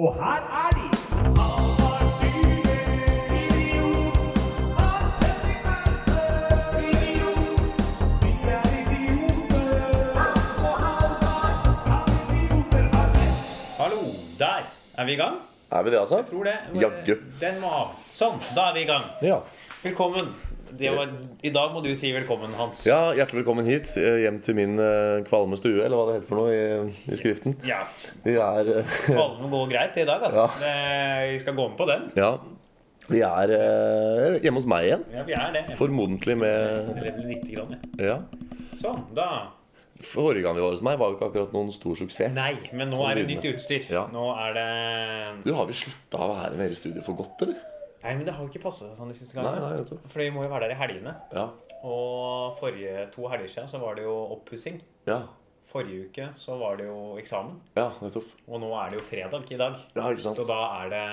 Og her er de! Han var dyr, idiot. Han setter kampen, idiot. Vi er idioter. Altså, Halvard, han idioter har rett. Hallo, der er vi i gang. Er vi det, altså? Tror det. Jaggu. Den må av. Sånn, da er vi i gang. Ja. Velkommen. Det var, I dag må du si velkommen, Hans. ja, hjertelig velkommen hit. eh, Hjem til min eh, kvalme stue, eller hva det heter for noe i, i skriften. Ja. Vi er eh, Kvalmen går greit i dag, altså. Ja. Det- Vi skal gå med på den. Ja. Vi er eh, hjemme hos meg igjen. Ja, vi er det. Formodentlig med Eller 90 gram, ja. Ja. Sånn, da. Forrige gang vi var hos meg, var jo ikke akkurat noen stor suksess. Nei, men nå er det nytt utstyr. Sånn Ja. Nå er det Du, Har vi slutta å være nede i studio for godt, eller? Nei, men det har jo ikke passet sånn de siste Nei, nei, gangene. vet du. For vi må jo være der i helgene. Ja. Og forrige to helger siden så var det jo oppussing. Ja. Forrige uke så var det jo eksamen. ja nettopp. Og nå er det jo fredag i dag. Ja, ikke sant? Så da er det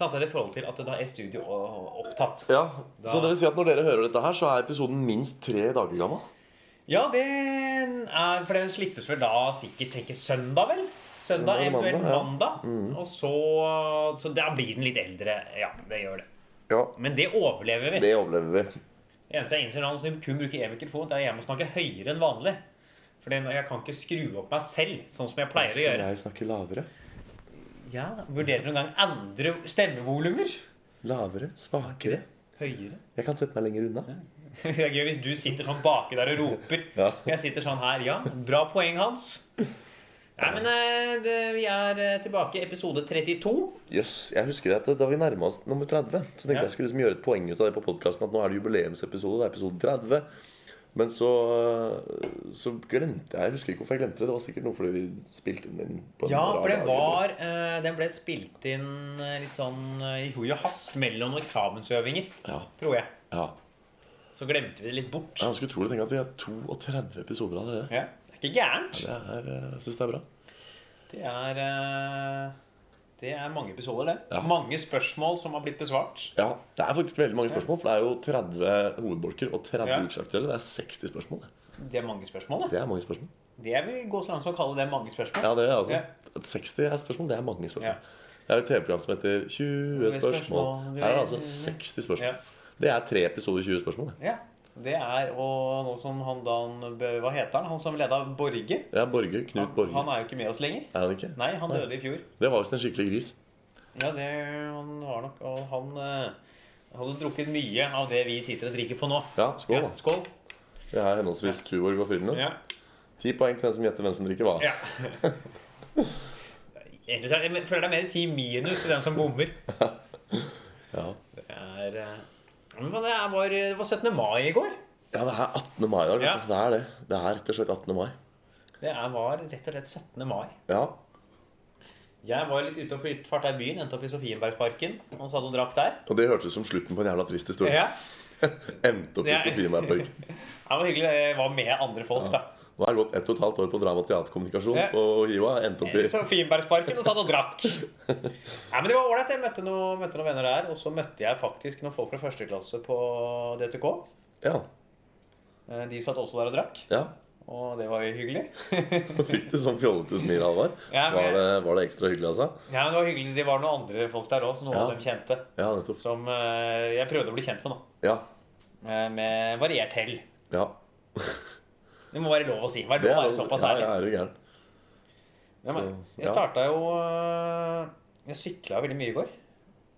Samtidig i forhold til at da er studio o- opptatt. Ja, Da- Så det vil si at når dere hører dette her, så er episoden minst tre dager gammel? Ja, det er For den slippes vel da sikkert tenker søndag, vel? Søndag Søndag, eller eventuelt mandag, ja. Mm. mandag. Og så Så da blir den litt eldre. Ja, det gjør det. Ja. Men det overlever vi. Det overlever vi. Det eneste jeg innser nå, som vi kun bruker én mikrofon, det er jeg må snakke høyere enn vanlig. For jeg kan ikke skru opp meg selv, sånn som jeg pleier å gjøre. Jeg snakker lavere. Ja, Vurderer du noen gang andre stemmevolumer? Lavere. Svakere. Høyere? Jeg kan sette meg lenger unna. Det er gøy hvis du sitter sånn baki der og roper. Ja. Jeg sitter sånn her. Ja, bra poeng, Hans. Nei, men eh, det, vi er eh, tilbake i episode 32. Jøss, jeg husker at Da vi nærma oss nummer 30, så tenkte Ja. jeg skulle liksom gjøre et poeng ut av det på podkasten. At nå er det jubileumsepisode. Det er episode 30. Men så, så glemte jeg Jeg husker ikke hvorfor jeg glemte det. Det var sikkert noe fordi vi spilte den inn på en Ja, rar for det dag, eller- var eh, Den ble spilt inn eh, litt sånn eh, i hui og hast mellom noen eksamensøvinger, Ja. tror jeg. ja. Så glemte vi det litt bort. Det er ganske utrolig å tenke at vi er 32 episoder allerede. Ja. Det er ikke gærent. Det er, eh, jeg syns det er bra. Det er eh, Det er mange episoder, det. Ja. Mange spørsmål som har blitt besvart. Ja, Det er faktisk veldig mange spørsmål, for det er jo 30 hovedbolker og 30 Ja. ukesaktuelle. Det er 60 spørsmål. det. Det er mange spørsmål, da. Det er mange spørsmål. Det vil vi gå så langt som å kalle det mange spørsmål. Ja, det er altså Ja. at 60 er spørsmål. Det er mange spørsmål. Ja. Det er et TV-program som heter 20 spørsmål. spørsmål. Her er det altså 60 spørsmål. Ja. Det er tre episoder 20 spørsmål. det. Ja, det er og nå som han da Hva heter han? Han som leda Borge? Det er Borge. Knut Borge. Han er jo ikke med oss lenger. Er han ikke? Nei, han døde i fjor. Det var visst en skikkelig gris. Ja, det han var nok Og han eh, hadde drukket mye av det vi sitter og drikker på nå. Ja, skål, Ja, da. skål. Det er henholdsvis Tuborg og Frydenlund. Ja. Ti poeng til den som gjetter hvem som drikker hva. ja. Ellers er det, jeg føler det er mer ti minus til den som bommer. Ja. Det er eh, men det er- var, det var 17. mai i går. ja, det er 18. mai i dag. Altså. Ja. Det er det. Det er rett og slett 18. mai. Det er, var rett og slett 17. mai. Ja. Jeg var litt ute og flytt- farta i byen. Endte opp i Sofienbergsparken og satt og drakk der. Og det hørtes ut som slutten på en jævla trist historie. Ja. Endte opp i Ja. Sofienberg. Det var hyggelig. Jeg var med andre folk, da. Nå har det gått ett og et halvt år på drama- og teaterkommunikasjon Ja. på HiOA. Endte opp i Eh, Så Finnbergsparken og satt og drakk. Nei, men Det var ålreit. Jeg møtte, noe, møtte noen venner der. Og så møtte jeg faktisk noen folk fra første klasse på DTK. Ja. Eh, De satt også der og drakk. ja. Og det var jo hyggelig. Og Fikk du sånn fjollete smil, Halvard? Ja, men- var, det- var det ekstra hyggelig, altså? Ja, men det var hyggelig. Det var noen andre folk der òg, noen Ja. av dem kjente. Ja, nettopp. Som eh, jeg prøvde å bli kjent med, da. Ja. Eh, Med variert hell. ja. Det må være lov å si. Vær lov å være såpass ja, ærlig. ja, er du gæren. Ja, men, Så, jeg ja. starta jo øh, Jeg sykla veldig mye i går.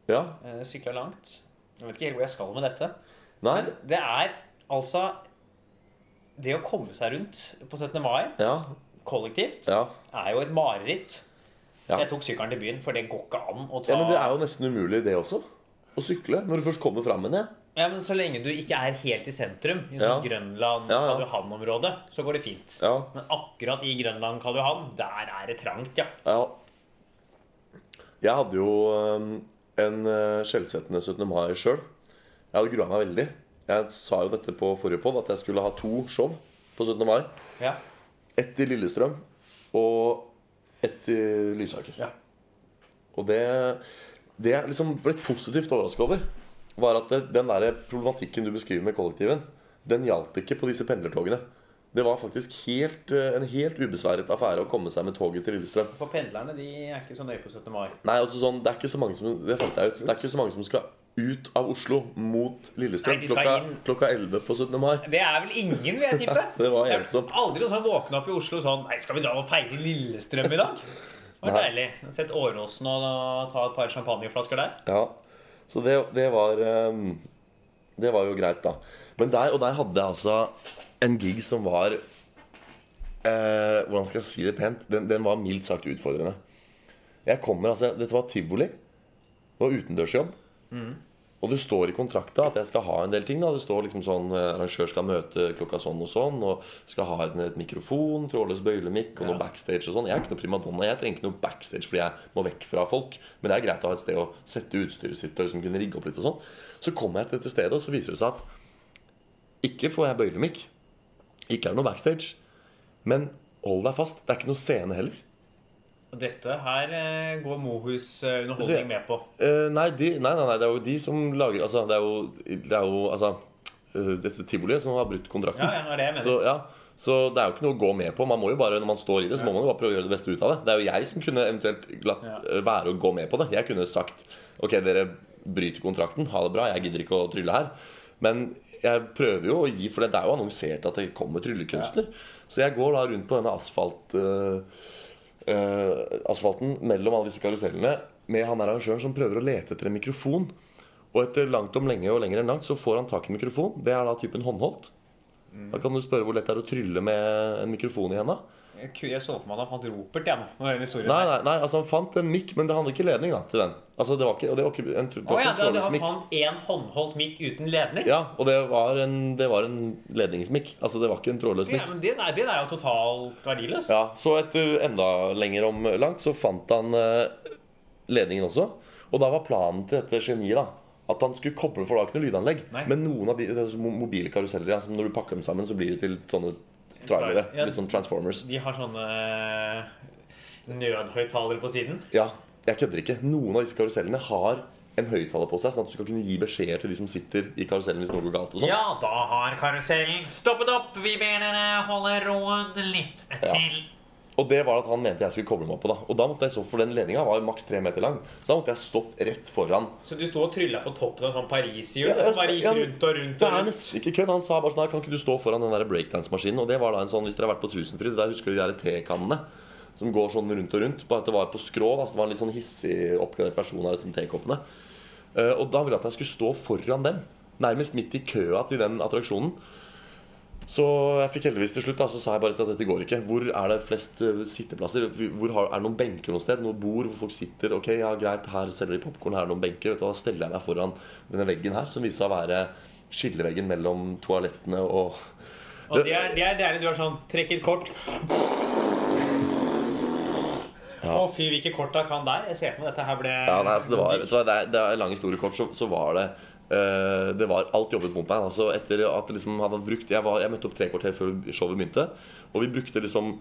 Ja. Eh, Sykla langt. Jeg vet ikke helt hvor jeg skal med dette. Nei. Men det er altså Det å komme seg rundt på 17. mai Ja. kollektivt Ja. er jo et mareritt. Så Ja. jeg tok sykkelen til byen, for det går ikke an å ta ja. Men det er jo nesten umulig, det også. Å sykle når du først kommer fram igjen. Ja, men Så lenge du ikke er helt i sentrum, i sånn Ja. Grønland, Ja, ja. Karl Johan-området, så går det fint. Ja. Men akkurat i Grønland, Karl Johan, der er det trangt, ja. ja. Jeg hadde jo øhm, en øh, skjellsettende 17. mai sjøl. Jeg hadde grua meg veldig. Jeg sa jo dette på forrige pod, at jeg skulle ha to show på 17. mai. ja. Ett i Lillestrøm og ett i Lysaker. ja. Og det, det jeg liksom ble positivt overrasket over, var at det, den der problematikken du beskriver med kollektiven, den gjaldt ikke på disse pendlertogene. Det var faktisk helt, eh, en helt ubesværet affære å komme seg med toget til Lillestrøm. For pendlerne de er ikke så nøye på 17. mai. Nei, altså sånn, det er ikke så mange som Det fant jeg ut. Det er ikke så mange som skal ut av Oslo mot Lillestrøm Nei, de skal klokka, inn. klokka 11 på 17. mai. Det er vel ingen, vil jeg tippe. Det var ensomt. Jeg har Aldri noen som har våkna opp i Oslo sånn Nei, skal vi dra og feire Lillestrøm i dag? Det var Nei. deilig. Jeg har Sett Åråsen og ta et par champagneflasker der. Ja. Så det, det var ehm, Det var jo greit, da. Men der og der hadde jeg altså en gig som var eh, Hvordan skal jeg si det pent? Den, den var mildt sagt utfordrende. Jeg kommer altså Dette var tivoli. Det var utendørsjobb. Og det står i kontrakta at jeg skal ha en del ting. da Det står liksom sånn eh, Arrangør skal møte klokka sånn og sånn, og skal ha en, et mikrofon, trådløs bøylemikk og noe backstage og sånn. Jeg er ikke noe primadonna. Jeg trenger ikke noe backstage fordi jeg må vekk fra folk. Men det er greit å ha et sted å sette utstyret sitt og liksom kunne rigge opp litt og sånn. Så kommer jeg til dette stedet, og så viser det seg at ikke får jeg bøylemikk. Ikke er det noe backstage. Men hold deg fast, det er ikke noe scene heller. Og dette her eh, går Mohus eh, Se. underholdning med på. Eh, nei, de, nei, nei, nei, det er jo de som lager Altså, det er jo, det er jo altså, eh, dette tivoliet som har brutt kontrakten. Ja, ja, det er det jeg mener. så, ja. så det er jo ikke noe å gå med på. Man må jo bare, Når man står i det, så må man jo bare prøve å gjøre det beste ut av det. Det er jo jeg som kunne eventuelt latt Ja. eh, være å gå med på det. Jeg kunne sagt OK, dere bryter kontrakten, ha det bra, jeg gidder ikke å trylle her. Men jeg prøver jo å gi, for det er jo annonsert at det kommer tryllekunstner. Så jeg går da rundt på denne asfalt... eh, eh, asfalten mellom alle disse karusellene med han her arrangøren som prøver å lete etter en mikrofon. Og etter langt om lenge og lenger enn langt så får han tak i en mikrofon. Det er da typen håndholdt. Da kan du spørre hvor lett det er å trylle med en mikrofon i henda. Jeg ku- jeg så for meg at han fant Ropert, jeg nå. Når den historien Nei, her. nei, nei, altså han fant en mikk, men det hadde ikke ledning da, til den. Altså det var ikke, og det var ikke en, tr- det Å var ja, da, ikke en da, trådløs han mikk. fant én håndholdt mikk uten ledning? Ja, og det var en, det var en ledningsmikk. Altså det var ikke en trådløs Ja, mikk. men den er, den er jo totalt verdiløs. Ja, så etter enda lenger om langt så fant han eh, ledningen også. Og da var planen til dette geniet da at han skulle koble for det var ikke noe lydanlegg. Nei. Men noen av de det er så mo- mobile karuseller, ja, som når du pakker dem sammen, så blir det til sånne trailere. Ja. Litt sånn Transformers. De har sånne eh, nødhøyttalere på siden. Ja, jeg kødder ikke. Noen av disse karusellene har en høyttaler på seg, sånn at du skal kunne gi beskjeder til de som sitter i karusellen hvis noe går galt. og sånn. Ja, da har karusellen stoppet opp. Vi ber dere holde roen litt til. Og det var at han mente jeg skulle koble meg på. da. Og da måtte jeg så for den ledninga var jo maks tre meter lang. Så da måtte jeg stått rett foran Så du sto og trylla på toppen av sånn pariserhjul? Ja, som bare ja, gikk men rundt og rundt Det og er rundt? nesten ikke kødd. Han sa bare sånn her, Kan ikke du stå foran den der breakdance-maskinen? Og det var da en sånn, hvis dere har vært på Tusenfryd, der husker du de der tekannene som går sånn rundt og rundt. Bare at det var på skrå. Da, så det var en litt sånn hissig oppgradert versjon av liksom, tekoppene. Eh, og da ville jeg at jeg skulle stå foran dem. Nærmest midt i køa til den attraksjonen. Så jeg fikk heldigvis til slutt da, så sa jeg bare at dette går ikke. Hvor er det flest eh, sitteplasser? Hvor har, er det noen benker noe sted? Noe bord hvor folk sitter? Ok, ja greit, her selger de popkorn, her er det noen benker. Vet du, hva, da steller jeg meg foran denne veggen her, som viser seg å være skilleveggen mellom toalettene og Og det er, det er deilig. Du er sånn Trekk et kort. Å, fy, hvilke kort da kan der? Jeg ser for meg dette her ble Ja, nei, altså det var, vet du hva, det er, det er en lang historie kort, så, så var det eh, det var alt jobbet mot meg. Altså etter at det liksom hadde brukt, jeg, var, jeg møtte opp tre kvarter før showet begynte. Og vi brukte liksom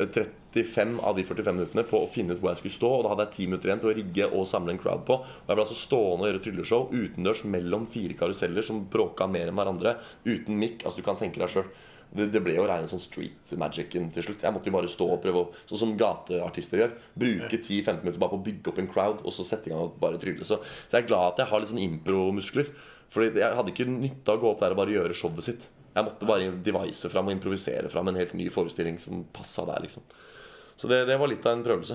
eh, 35 av de 45 minuttene på å finne ut hvor jeg skulle stå. Og da hadde jeg 10 minutter igjen til å rigge og samle en crowd på. Og jeg ble altså stående og gjøre trylleshow utendørs mellom fire karuseller som bråka mer enn hverandre. Uten mikk. Altså, du kan tenke deg sjøl. Det, det ble jo rein sånn street magicen til slutt. Jeg måtte jo bare stå og prøve å, Sånn som gateartister gjør. Bruke 10-15 minutter bare på å bygge opp en crowd og så sette i gang og bare trylle. Så, så jeg er glad at jeg har litt sånn impro-muskler. Fordi det- jeg hadde ikke nytte av å gå opp der og bare gjøre showet sitt. Jeg måtte bare devise fram og improvisere fram en helt ny forestilling som passa der, liksom. Så det, det var litt av en prøvelse.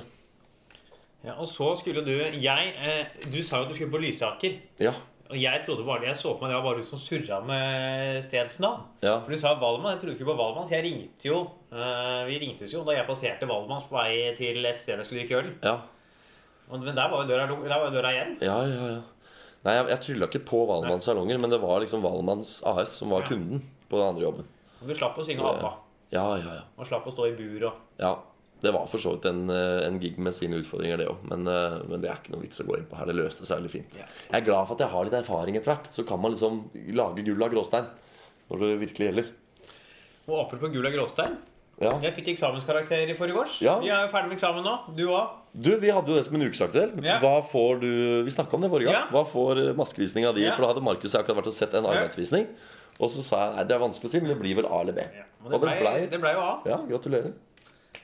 Ja, og så skulle du jeg, eh, Du sa jo at du skulle på Lysaker. Ja. Og jeg trodde bare, jeg så for meg det var bare du som surra med stedsnavn. Ja. For du sa Valmann. Jeg trodde du skulle på Valmann, så jeg ringte jo. eh, vi ringtes jo da jeg passerte Valmanns på vei til et sted jeg skulle drikke øl. Ja, Og- Men der var jo døra, luk- der var jo døra igjen. ja, ja. ja. Nei, jeg, jeg trylla ikke på Valmanns salonger, men det var liksom Valmanns AS som var Ja. kunden på den andre jobben. Og du slapp å synge Det- ABBA. Ja, ja, ja. Og slapp å stå i bur og Ja, det var for så vidt en, eh, en gig med sine utfordringer, det òg. Men, eh, men det er ikke noe vits å gå inn på her. Det løste seg veldig fint. Ja. Jeg er glad for at jeg har litt erfaring etter hvert. Så kan man liksom lage gull av gråstein når det virkelig gjelder. Og apel på gul og gråstein. Ja. Jeg fikk eksamenskarakter i forgårs. Ja. Vi er jo ferdig med eksamen nå. Du òg. Du, Vi hadde jo det som en ukesaktuell. Ja. Hva får du Vi snakka om det forrige gang. Ja. Hva får eh, maskevisninga di? Ja. For da hadde Markus og jeg akkurat vært og sett en arbeidsvisning. Og så sa jeg nei, det er vanskelig å si, men det blir vel A eller B. Ja, men Og det det blei blei det ble jo A. Ja, gratulerer.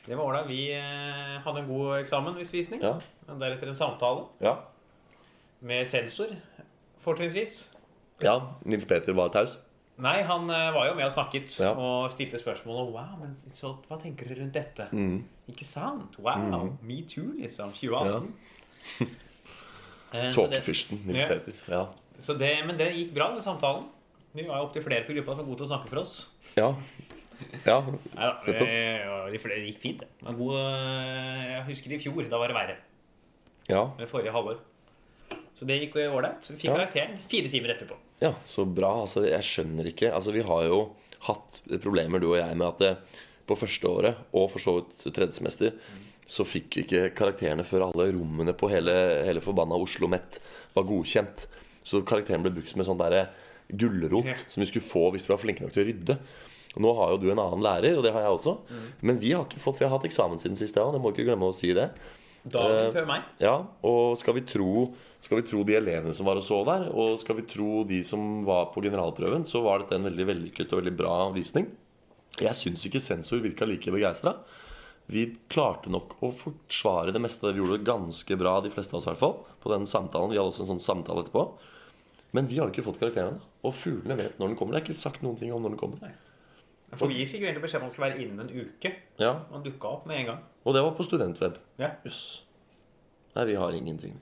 Det var ålreit. Vi eh, hadde en god eksamen, visvisning. Ja. Og Deretter en samtale Ja. med sensor, fortrinnsvis. ja. Nils Peter var taus. Nei, han eh, var jo med og snakket Ja. og stilte spørsmål. Og wow, men så, hva tenker dere rundt dette? Mm. Ikke sant? Wow, me too, liksom. 2018. Ja. Eh, så det- Tåkefyrsten Nils Ja. Peter. Ja. Så det, men det gikk bra, den samtalen. Vi var jo opptil flere på gruppa som var gode til å snakke for oss. Ja. ja. Neida, Nettopp. eh, ja, de flere gikk fint. det. Men god, eh, jeg husker i fjor. Da var det verre. ja. Med forrige halvår. Så det gikk jo ålreit. Så Vi fikk Ja. karakteren fire timer etterpå. Ja, så bra. Altså, jeg skjønner ikke Altså, vi har jo hatt problemer, du og jeg, med at eh, på første året, og for så vidt tredje semester, så fikk vi ikke karakterene før alle rommene på hele, hele forbanna Oslo Met var godkjent. Så karakteren ble brukt som en sånn derre gulrot Ja. som vi skulle få hvis vi var flinke nok til å rydde. Nå har jo du en annen lærer, og det har jeg også. Men vi har ikke fått, vi har hatt eksamen siden sist, ja. Det må ikke glemme å si det. Dagen Eh, før meg. Ja, og skal vi, tro, skal vi tro de elevene som var og så der, og skal vi tro de som var på generalprøven, så var dette en veldig vellykket og veldig bra visning. Jeg syns ikke sensor virka like begeistra. Vi klarte nok å forsvare det meste. Vi gjorde det ganske bra, de fleste av oss i hvert fall, på den samtalen. Vi hadde også en sånn samtale etterpå. Men vi har jo ikke fått karakteren ennå. Og fuglene vet når den kommer. Det er ikke sagt noen ting om når den kommer. For vi fikk jo egentlig beskjed om at det skulle være innen en uke. Ja, Man dukka opp med en gang. Og det var på studentweb. Ja, Jøss. Nei, vi har ingenting.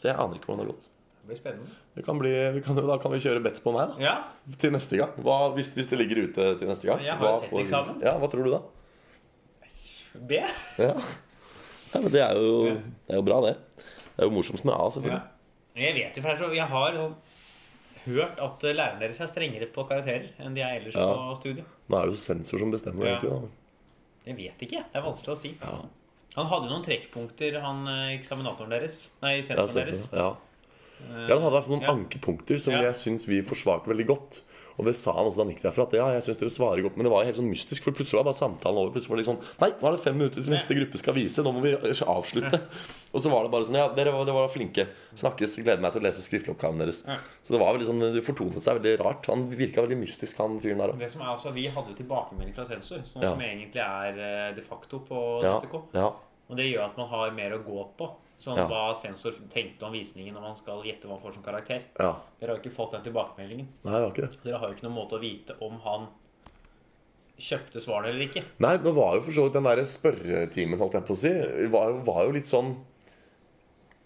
Så jeg aner ikke hvordan det har gått. Det blir spennende. Det kan bli, vi kan, jo- da kan vi kjøre bets på meg da, Ja, til neste gang. Hva, hvis, hvis det ligger ute til neste gang. Jeg har hva sett får- eksamen. Ja, hva tror du da? B. Ja. Nei, men det er, jo, Ja. det er jo bra, det. Det er jo morsomst med A, Ja. selvfølgelig. Jeg vet det, for det er så- jeg har jo hørt at eh, lærerne deres er strengere på karakterer enn de er ellers Ja. på studiet. Nå er det jo sensor som bestemmer, Ja. egentlig. Da. men- Jeg vet ikke. Det er vanskelig å si. Ja. Han hadde jo noen trekkpunkter, han eh, eksaminatoren deres. Nei, Ja, sensoren deres. Eh, sensor, ja. ja, han hadde i hvert fall noen Ja. ankepunkter som Ja. jeg syns vi forsvarte veldig godt. Og det sa han også da han gikk derfra. At ja, jeg synes dere svarer godt Men det var jo helt sånn mystisk, for plutselig var bare samtalen over. Plutselig var det sånn Nei, nå er det fem minutter til neste gruppe skal vise. Nå må vi avslutte. Og så var det bare sånn Ja, dere var, dere var flinke. Snakkes. Gleder meg til å lese skriftlig oppgaven deres. Ja. Så det var veldig sånn Det fortonet seg veldig rart. Han virka veldig mystisk, han fyren der òg. Det som er altså, Vi hadde jo tilbakemelding fra sensor, sånn Ja. som egentlig er eh, de facto på Ja, DTK. ja, Og det gjør at man har mer å gå på. Sånn Ja. hva sensor tenkte om visningen når man skal gjette hva han får som karakter. ja. Dere har jo ikke fått den tilbakemeldingen. Nei, det var ikke det. Dere har jo ikke noen måte å vite om han kjøpte svarene eller ikke. Nei, nå var jo for så vidt den der spørretimen, holdt jeg på å si, var, jo- var jo litt sånn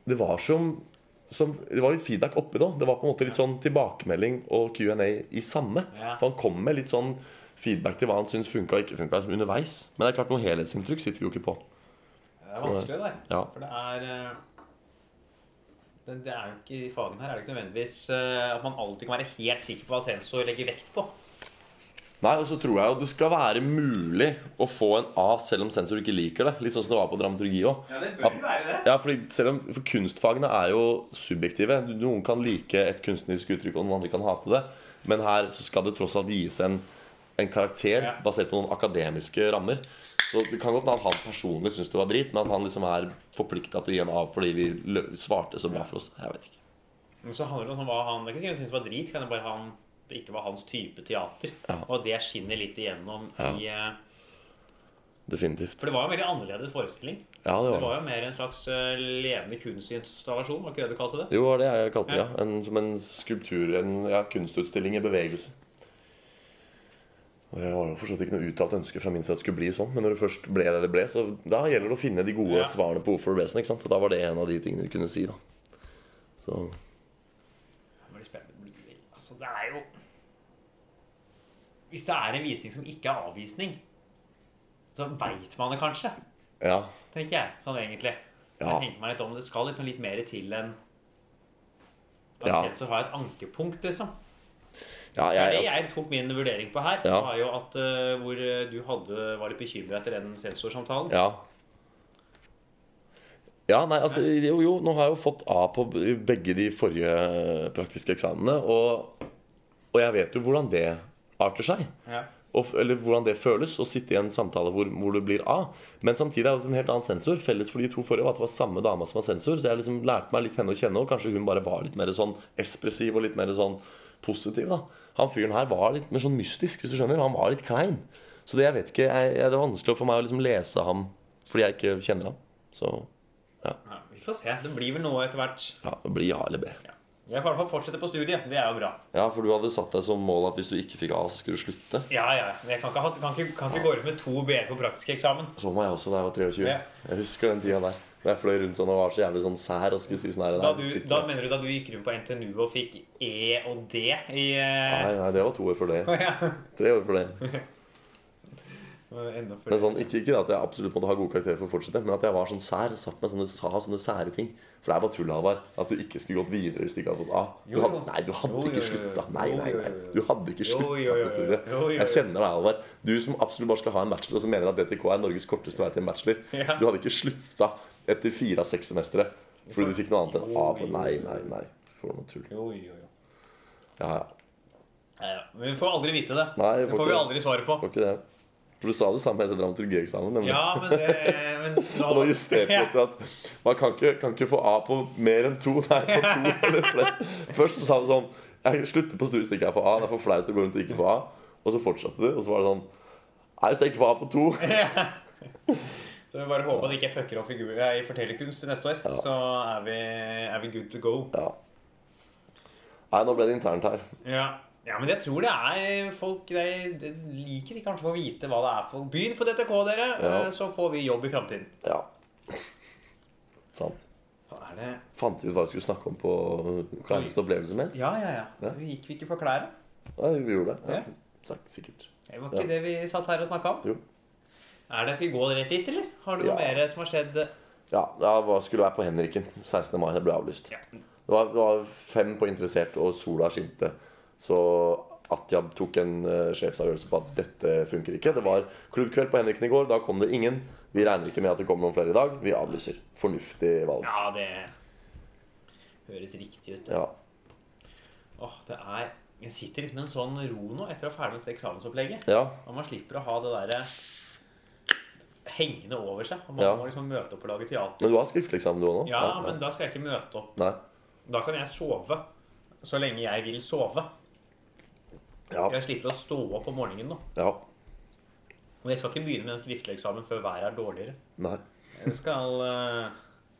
Det var som, som Det var litt feedback oppi da. Det var på en måte litt sånn tilbakemelding og Q&A i samme. Ja. For han kom med litt sånn feedback til hva han syntes funka og ikke funka som underveis. Men det er klart noe helhetsinntrykk sitter vi jo ikke på. Det er vanskelig, det. Ja. For det er eh, det, det er jo ikke I fagene her er det ikke nødvendigvis eh, at man alltid kan være helt sikker på hva sensor legger vekt på. Nei, og så tror jeg jo det skal være mulig å få en A selv om sensor ikke liker det. Litt sånn som det var på dramaturgi òg. Ja, det bør jo være det. Ja, fordi selv om, for kunstfagene er jo subjektive. Noen kan like et kunstnerisk uttrykk, og noen andre kan hate det. Men her så skal det tross alt gis en, en karakter Ja. basert på noen akademiske rammer. Så det kan godt hende at han personlig syns det var drit, men at han liksom er forplikta til å gi en av fordi vi lø svarte så bra for oss. Jeg vet ikke. Men så handler det om hva han Det er ikke sikkert han syntes det var drit, kan det bare han det ikke var hans type teater. Ja. Og det skinner litt igjennom i eh, Definitivt. For det var jo en veldig annerledes forestilling. Ja, det Det var det. var jo mer en slags eh, levende kunstinstallasjon, var ikke det du kalte det? Jo, det var det jeg kalte det. Ja. En, som en skulptur, en ja, kunstutstilling i bevegelse. Og Det var jo forstått ikke noe uttalt ønske fra min side at det skulle bli sånn, men når det først ble det det ble, så da gjelder det å finne de gode Ja. svarene på hvorfor det ble sånn. ikke sant? Og da var det en av de tingene vi kunne si, da. Så Det blir spennende. Det blir- Altså, det er jo Hvis det er en visning som ikke er avvisning, så veit man det kanskje, ja. tenker jeg sånn egentlig. Ja. Jeg tenker meg litt om. Det skal liksom litt mer til enn at Ja. Sensor har et ankepunkt, liksom. ja Det jeg, jeg, altså, jeg tok min vurdering på her, Ja. var jo at eh, hvor eh, du hadde, var litt bekymra etter den sensorsamtalen. ja. Ja, nei, altså jo, jo, nå har jeg jo fått A på begge de forrige praktiske eksamenene. Og, og jeg vet jo hvordan det arter seg. Ja. og, eller hvordan det føles å sitte i en samtale hvor, hvor det blir A. Men samtidig er det en helt annen sensor. Felles for de to forrige var at det var samme dama som var sensor. Så jeg liksom lærte meg litt henne å kjenne, og kanskje hun bare var litt mer sånn ekspressiv og litt mer sånn positiv. da Han fyren her var litt mer sånn mystisk, hvis du skjønner. Han var litt klein. Så det jeg vet ikke, jeg, jeg, det var vanskelig for meg å liksom lese ham fordi jeg ikke kjenner ham. Så Ja, vi får se. Det blir vel noe etter hvert. ja, det blir ja eller B. Jeg får i hvert fall fortsette på studiet. Det er jo bra. Ja, for du hadde satt deg som mål at hvis du ikke fikk A, så skulle du slutte. Ja, ja. Men jeg kan ikke, ha, kan ikke, kan ikke gå ut med to BR på praktisk eksamen. Sånn var jeg også da jeg var 23. Ja. Jeg husker den tida der. Da jeg fløy rundt sånn og var så jævlig sånn sær og skulle si sånn her Da, nei, du, stikker da jeg. mener du da du gikk rundt på NTNU og fikk E og D i Nei, eh, nei, det var to år for det. ja. Tre år for det. Enda Men før. sånn, ikke, ikke at jeg absolutt måtte ha god karakter for å fortsette, men at jeg var sånn sær. Satt meg sånne, sa sånne sære ting. For det er bare tull, Halvard. At du ikke skulle gått videre hvis du ikke hadde fått A. Du Jo, hadde, jo. nei, du hadde Jo, jo, jo, ikke jo. slutta. Nei, Jo, nei, jo, nei. jo. Du hadde Jo, ikke jo, slutta jo, på studiet. jo, jo, jo. Jeg kjenner deg, Halvard. Du som absolutt bare skal ha en bachelor, og som mener at DTK er Norges korteste vei til en bachelor. Ja. Du hadde ikke slutta etter fire av seks semestre fordi du fikk noe annet enn A. Jo, jo, Nei, jo. nei, nei. For noe tull. Jo, jo, jo. Ja, ja. Ja, ja. Men vi får aldri vite det. Nei, det jeg får får vi ikke- aldri svaret på. Var ikke det? For du sa det samme etter dramaturgieksamen. nemlig. Ja, men det men, nå- Og da justerte jeg til at man kan ikke, kan ikke få A på mer enn to. Nei, på to eller flere. Først så sa du sånn Jeg slutter på studiet hvis ikke jeg får A. Det er for flaut å gå rundt og ikke få A. Og så fortsatte du, og så var det sånn Nei, hvis jeg ikke får A på to Så vi bare håper at det ikke fucker opp figur, eh, i fortellerkunst til neste år. Så er vi, er vi good to go. Ja. Nei, nå ble det internt her. Ja. ja, men jeg tror det er folk De, de liker ikke kanskje å få vite hva det er for Begynn på DTK, dere, Ja. eh, så får vi jobb i framtiden. Ja. Sant. Hva er det? Fant vi ut hva vi skulle snakke om på kleineste opplevelse med? Ja, ja, ja. Ja. Gikk vi ikke for klærne? Ja, vi gjorde det. Ja. Ja. Sagt, sikkert. Det var ikke Ja. det vi satt her og snakka om. Jo. Er det, Skal vi gå rett dit, eller? Har det noe Ja. mer som har skjedd? Ja, det var- skulle være på Henriken 16. mai. Det ble avlyst. Ja. Det var, det var fem på interessert, og sola skinte. Så Atjab tok en eh, sjefsavgjørelse på at dette funker ikke. Det var klubbkveld på Henriken i går. Da kom det ingen. Vi regner ikke med at det kommer noen flere i dag. Vi avlyser. Fornuftig valg. Ja, det høres riktig ut. Ja. Åh, det er Jeg sitter liksom med en sånn ro nå etter å ha ferdig med eksamensopplegget. ja. Og man slipper å ha det derre hengende over seg. Og man Ja. må liksom møte opp og lage teater. Men du har skriftlig eksamen, du òg nå? Ja, men da skal jeg ikke møte opp. Nei. Da kan jeg sove. Så lenge jeg vil sove. Ja. Jeg slipper å stå opp om morgenen nå. ja. Og jeg skal ikke begynne med en skriftlig eksamen før været er dårligere. Nei. Jeg skal eh,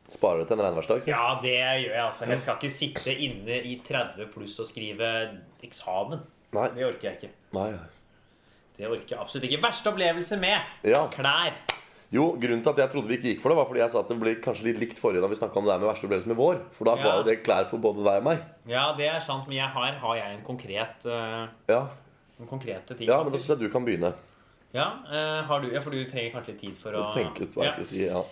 Sparer det til en regnværsdag, si. Ja, det gjør jeg altså. Jeg skal ikke sitte inne i 30 pluss og skrive eksamen. Nei. Det orker jeg ikke. Nei. Det orker jeg absolutt ikke. Verste opplevelse med Ja. klær. Jo, grunnen til at jeg trodde vi ikke gikk for det, var fordi jeg sa at det ble kanskje litt likt forrige da vi snakka om det her med verste opplevelse med vår. For da Ja. var jo det klær for både deg og meg. Ja, det er sant, men jeg har, har jeg en konkret eh, Ja, en konkrete ting. ja men da faktisk. syns jeg du kan begynne. ja, eh, har du, ja, for du trenger kanskje litt tid for å Tenke ut hva jeg skal si. Ja. Ja.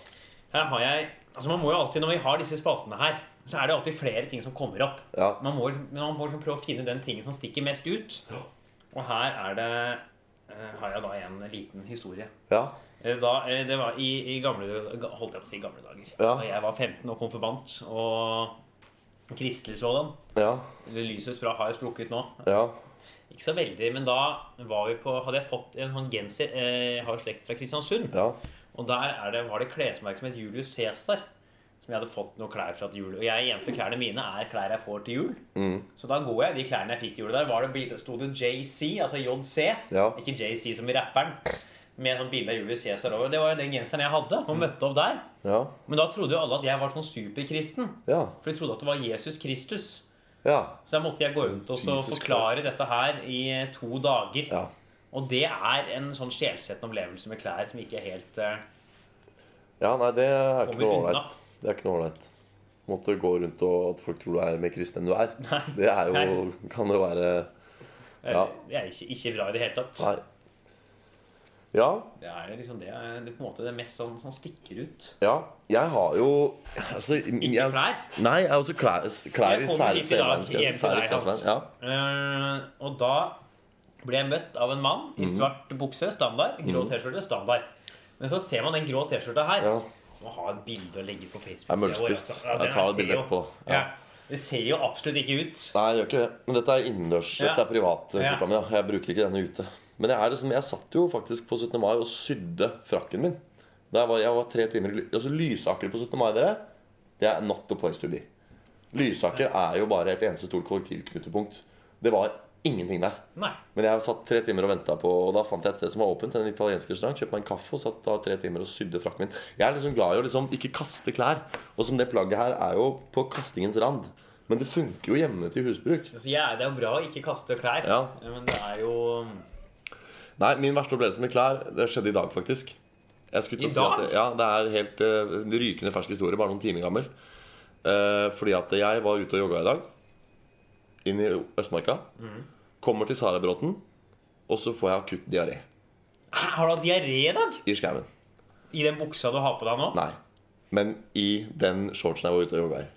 Her har jeg Altså, man må jo alltid, Når vi har disse spaltene her, så er det alltid flere ting som kommer opp. ja. Man må, liksom- man må liksom prøve å finne den tingen som stikker mest ut. Og her er det eh, har jeg da en liten historie. Ja, Eh, Da, eh, det var i, i gamle, ga- holdt jeg på å si gamle dager. Ja. Da jeg var 15 og konfirmant og kristelig sådan. ja, Lysets bra har jo sprukket nå. ja, Ikke så veldig, men da var vi på, hadde jeg fått en sånn genser eh, Jeg har jo slekt fra Kristiansund. ja, Og der er det, var det klesmerke som het Julius Cæsar. Som jeg hadde fått noen klær fra til jul. Og jeg, eneste klærne mine er klær jeg får til jul. Mm. Så da går jeg i de klærne jeg fikk til jul. Der var det, bil- sto det JC, altså JC. Ja. Ikke JC som i rapperen. Med et sånt bilde av Julius Cæsar over. Det var jo den genseren jeg hadde, Mm. og møtte opp der. ja, Men da trodde jo alle at jeg var sånn superkristen. ja, For de trodde at det var Jesus Kristus. ja, Så da måtte jeg gå rundt og så Jesus forklare Christ. dette her i to dager. ja. Og det er en sånn sjelsettende opplevelse med klær som ikke er helt eh, Ja, nei, det er ikke Kommer noe unna. ålreit. Det er ikke noe ålreit. Måtte gå rundt og at folk tror du er mer kristen enn du er. Nei. Det er jo Nei. Kan jo være eh, Ja. Det er ikke, ikke bra i det hele tatt. Nei. Ja, Det er liksom det, eh, det er på en måte det mest sånn som stikker ut. ja. Jeg har jo altså, Ikke klær? Nei, jeg har også klær, klær Jeg i kommer sære hit i dag, scener. skal jeg si. hjem til Sære deg, Hans. klassemenn, Ja. Eh, og da ble jeg møtt av en mann i Mhm. svart bukse, standard, grå T-skjorte, standard. Men så ser man den grå T-skjorta her. Ja. Må ha et bilde å legge på Facebook. Jeg er møllspist. Ja, den Jeg tar et ser bilde jo- etterpå. Ja. Ja. Det ser jo absolutt ikke ut. Nei, jeg gjør ikke det. Men dette er innendørs. Ja. Dette er privat. Ja. skjorta mi, ja. Jeg bruker ikke denne ute. Men jeg, er liksom, jeg satt jo faktisk på 17. mai og sydde frakken min. Da jeg var, jeg var tre timer i ly- altså, Lysaker på 17. mai, dere, det er not the place to be. Lysaker er jo bare et eneste stort kollektivknutepunkt. Det var ingenting der. Nei. Men jeg satt tre timer og ventet på Og da fant jeg et sted som var åpent, en italiensk restaurant. Kjøpte meg en kaffe og satt da tre timer og sydde frakken min. Jeg er liksom glad i å liksom ikke kaste klær. Og som det plagget her er jo på kastingens rand. Men det funker jo hjemme til husbruk. Altså, jeg, det er jo bra å ikke kaste klær, Ja. men det er jo Nei, min verste opplevelse med klær Det skjedde i dag, faktisk. Jeg skulle til I å si at dag? det- ja, det er helt eh, rykende fersk historie, bare noen timer gammel. Eh, fordi at jeg var ute og jogga i dag, inn i Østmarka. Mm. Kommer til Sarabråten, og så får jeg akutt diaré Hæ, Har du hatt diaré i dag? i skauen. I den buksa du har på deg nå? Nei. Men i den shortsen jeg var ute og jogga i.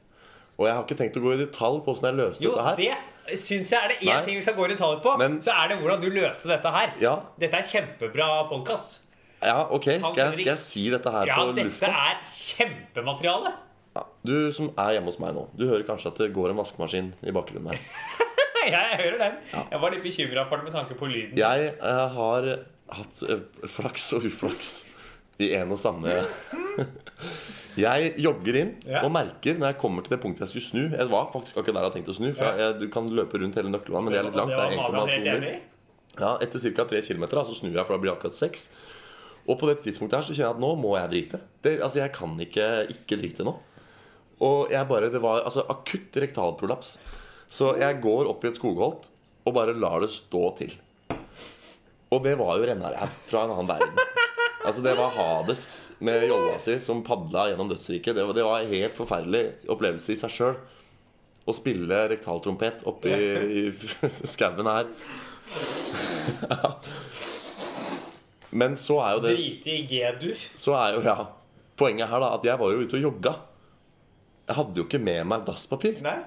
Og jeg har ikke tenkt å gå i detalj på åssen jeg løste Jo, dette her. det syns jeg er det én Nei. ting vi skal gå i detalj på. Men- så er det hvordan du løste dette her. Ja. Dette er kjempebra podkast. Ja, ok, skal jeg, skjønner skal jeg si dette her Ja, på dette lufta? er kjempemateriale. Ja, Du som er hjemme hos meg nå, du hører kanskje at det går en vaskemaskin i bakgrunnen her. Jeg, jeg hører den. Jeg var litt bekymra for det med tanke på lyden. Jeg eh, har hatt eh, flaks og uflaks i en og samme Jeg jogger inn Ja. og merker når jeg kommer til det punktet jeg skulle snu Jeg var faktisk akkurat der jeg hadde tenkt å snu, for Ja. jeg, du kan løpe rundt hele nøkkelvannet, men det er litt langt. Det er Magan 1,2 helt mil. enig i. Ja, etter ca. 3 km da, så snur jeg, for da blir det akkurat 6. Og på det tidspunktet her så kjenner jeg at nå må jeg drite. Det, altså, jeg kan ikke ikke drite nå. Og jeg bare, det var altså, akutt rektalprolaps. Så jeg går opp i et skogholt og bare lar det stå til. Og det var jo rennaræv fra en annen verden. Altså Det var Hades med jolla si som padla gjennom dødsriket. Det var, det var en helt forferdelig opplevelse i seg sjøl. Å spille rektaltrompet oppi i skauen her. Men så er jo det Drite i G-dur. så er jo, ja Poenget her da, at jeg var jo ute og jogga Jeg hadde jo ikke med meg dasspapir Nei.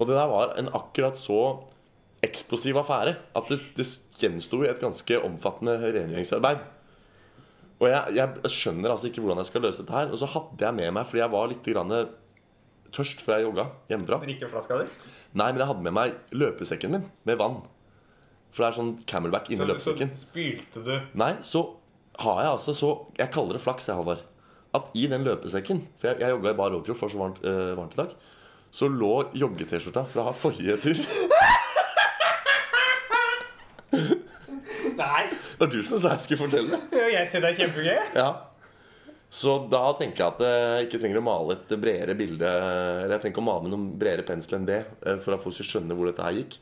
Og det der var en akkurat så eksplosiv affære At det, det gjenstod et ganske omfattende rengjøringsarbeid Og jeg, jeg skjønner altså ikke hvordan jeg skal løse dette her Og så hadde jeg med meg, fordi jeg var litt grann tørst før jeg jogga hjemmefra Drikkeflaska di. Nei, men jeg hadde med meg løpesekken min med vann For det er sånn camelback inni Så, så løpesekken spylte du. Nei, så har jeg altså så Jeg kaller det flaks, jeg, Halvard. At i den løpesekken For jeg, jeg jogga i bar overkropp, for så varmt, eh, varmt i dag. Så lå jogge-T-skjorta fra forrige tur. Det Nei. var du som sa jeg skulle fortelle det. Jeg syns det er kjempegøy. Ja. Så da tenker jeg at jeg ikke trenger å male et bredere bilde Eller jeg trenger ikke å male med noen bredere pensel enn det eh, for at folk skal skjønne hvor dette her gikk.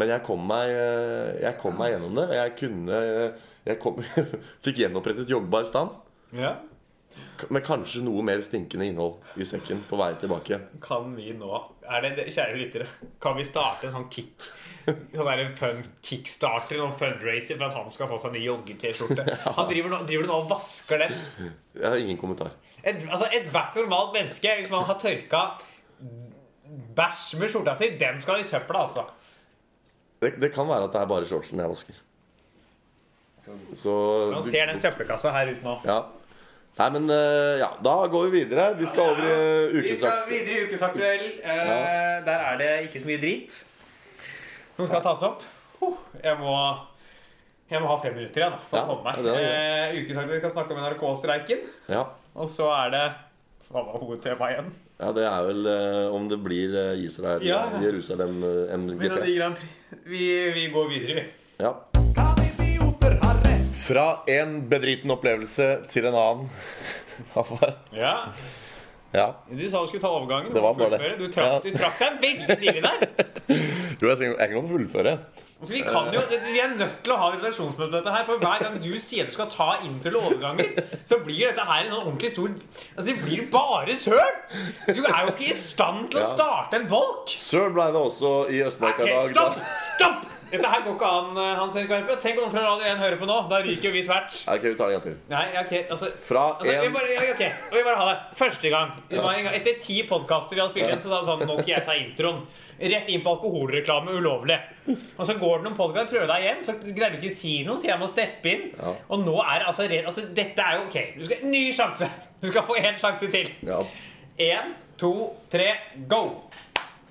Men jeg kom meg, eh, jeg kom meg gjennom det. og Jeg kunne eh, Jeg kom, fikk gjenopprettet joggbar stand. Ja. Men kanskje noe mer stinkende innhold i sekken på vei tilbake. Kan vi nå er det, det- Kjære lyttere, kan vi starte en sånn kick? Sånn der en fun kickstarter, noen fundraiser for at han skal få seg en ny jogge-T-skjorte. Han driver, nå- driver du nå og vasker den? Jeg har ingen kommentar. Et, altså, Ethvert normalt menneske, hvis man har tørka bæsj med skjorta si, den skal i søpla, altså. Det, det kan være at det er bare shortsen jeg vasker. Så Man ser den søppelkassa her ute nå. Ja. Nei, men eh, ja, da går vi videre. Vi skal over i eh, Vi skal ukesakt. videre i Ukesaktuell. Eh, Ja. Der er det ikke så mye drit som skal tas opp. Huh, Jeg må, jeg må ha fem minutter igjen da, for Ja, å komme ja, det meg. er Eh, Ukesaktuell kan snakke om NRK-streiken. Ja. Og så er det Hva var hovedtemaet igjen? ja, det er vel eh, om det blir eh, Israel, Ja. Jerusalem, eh, MGP. Melodi Grand Prix. Vi, vi går videre, vi. Ja. Fra en bedriten opplevelse til en annen. Halvard. Ja, ja. Du sa du skulle ta overgangen. Det var bare det. fullføre. Du trakk, Ja. du trakk deg veldig tidlig der. Jo, jeg skal- jeg kan godt fullføre. Så Altså, vi, kan jo, vi er nødt til å ha redaksjonsmøte på dette her, for hver gang du sier du skal ta intro eller overganger, så blir dette her en sånn ordentlig stor Altså, det blir bare søl! Du er jo ikke i stand til å Ja. starte en bolk! Søl ble det også i Østmarka Ok, i dag. stopp! Stopp! Dette her går ikke an, eh, Hans Erik Verpe. Tenk om noen fra Radio 1 hører på nå. Da ryker jo vi tvert. Ja, Ok, vi tar det en gang til. Nei, ok, altså Fra Altså, vi en bare, ja, ok, og vi bare ha det. Første gang. Det var en gang etter ti podkaster vi hadde spilt inn, så sa han sånn Nå skal jeg ta introen. Rett inn på alkoholreklame ulovlig. Og så går det noen podkaster, prøver deg hjem, så greier du ikke å si noe, så jeg må steppe inn. Ja. Og nå er det altså, re- altså Dette er jo ok. Du skal, ny sjanse! Du skal få én sjanse til. ja. Én, to, tre, go!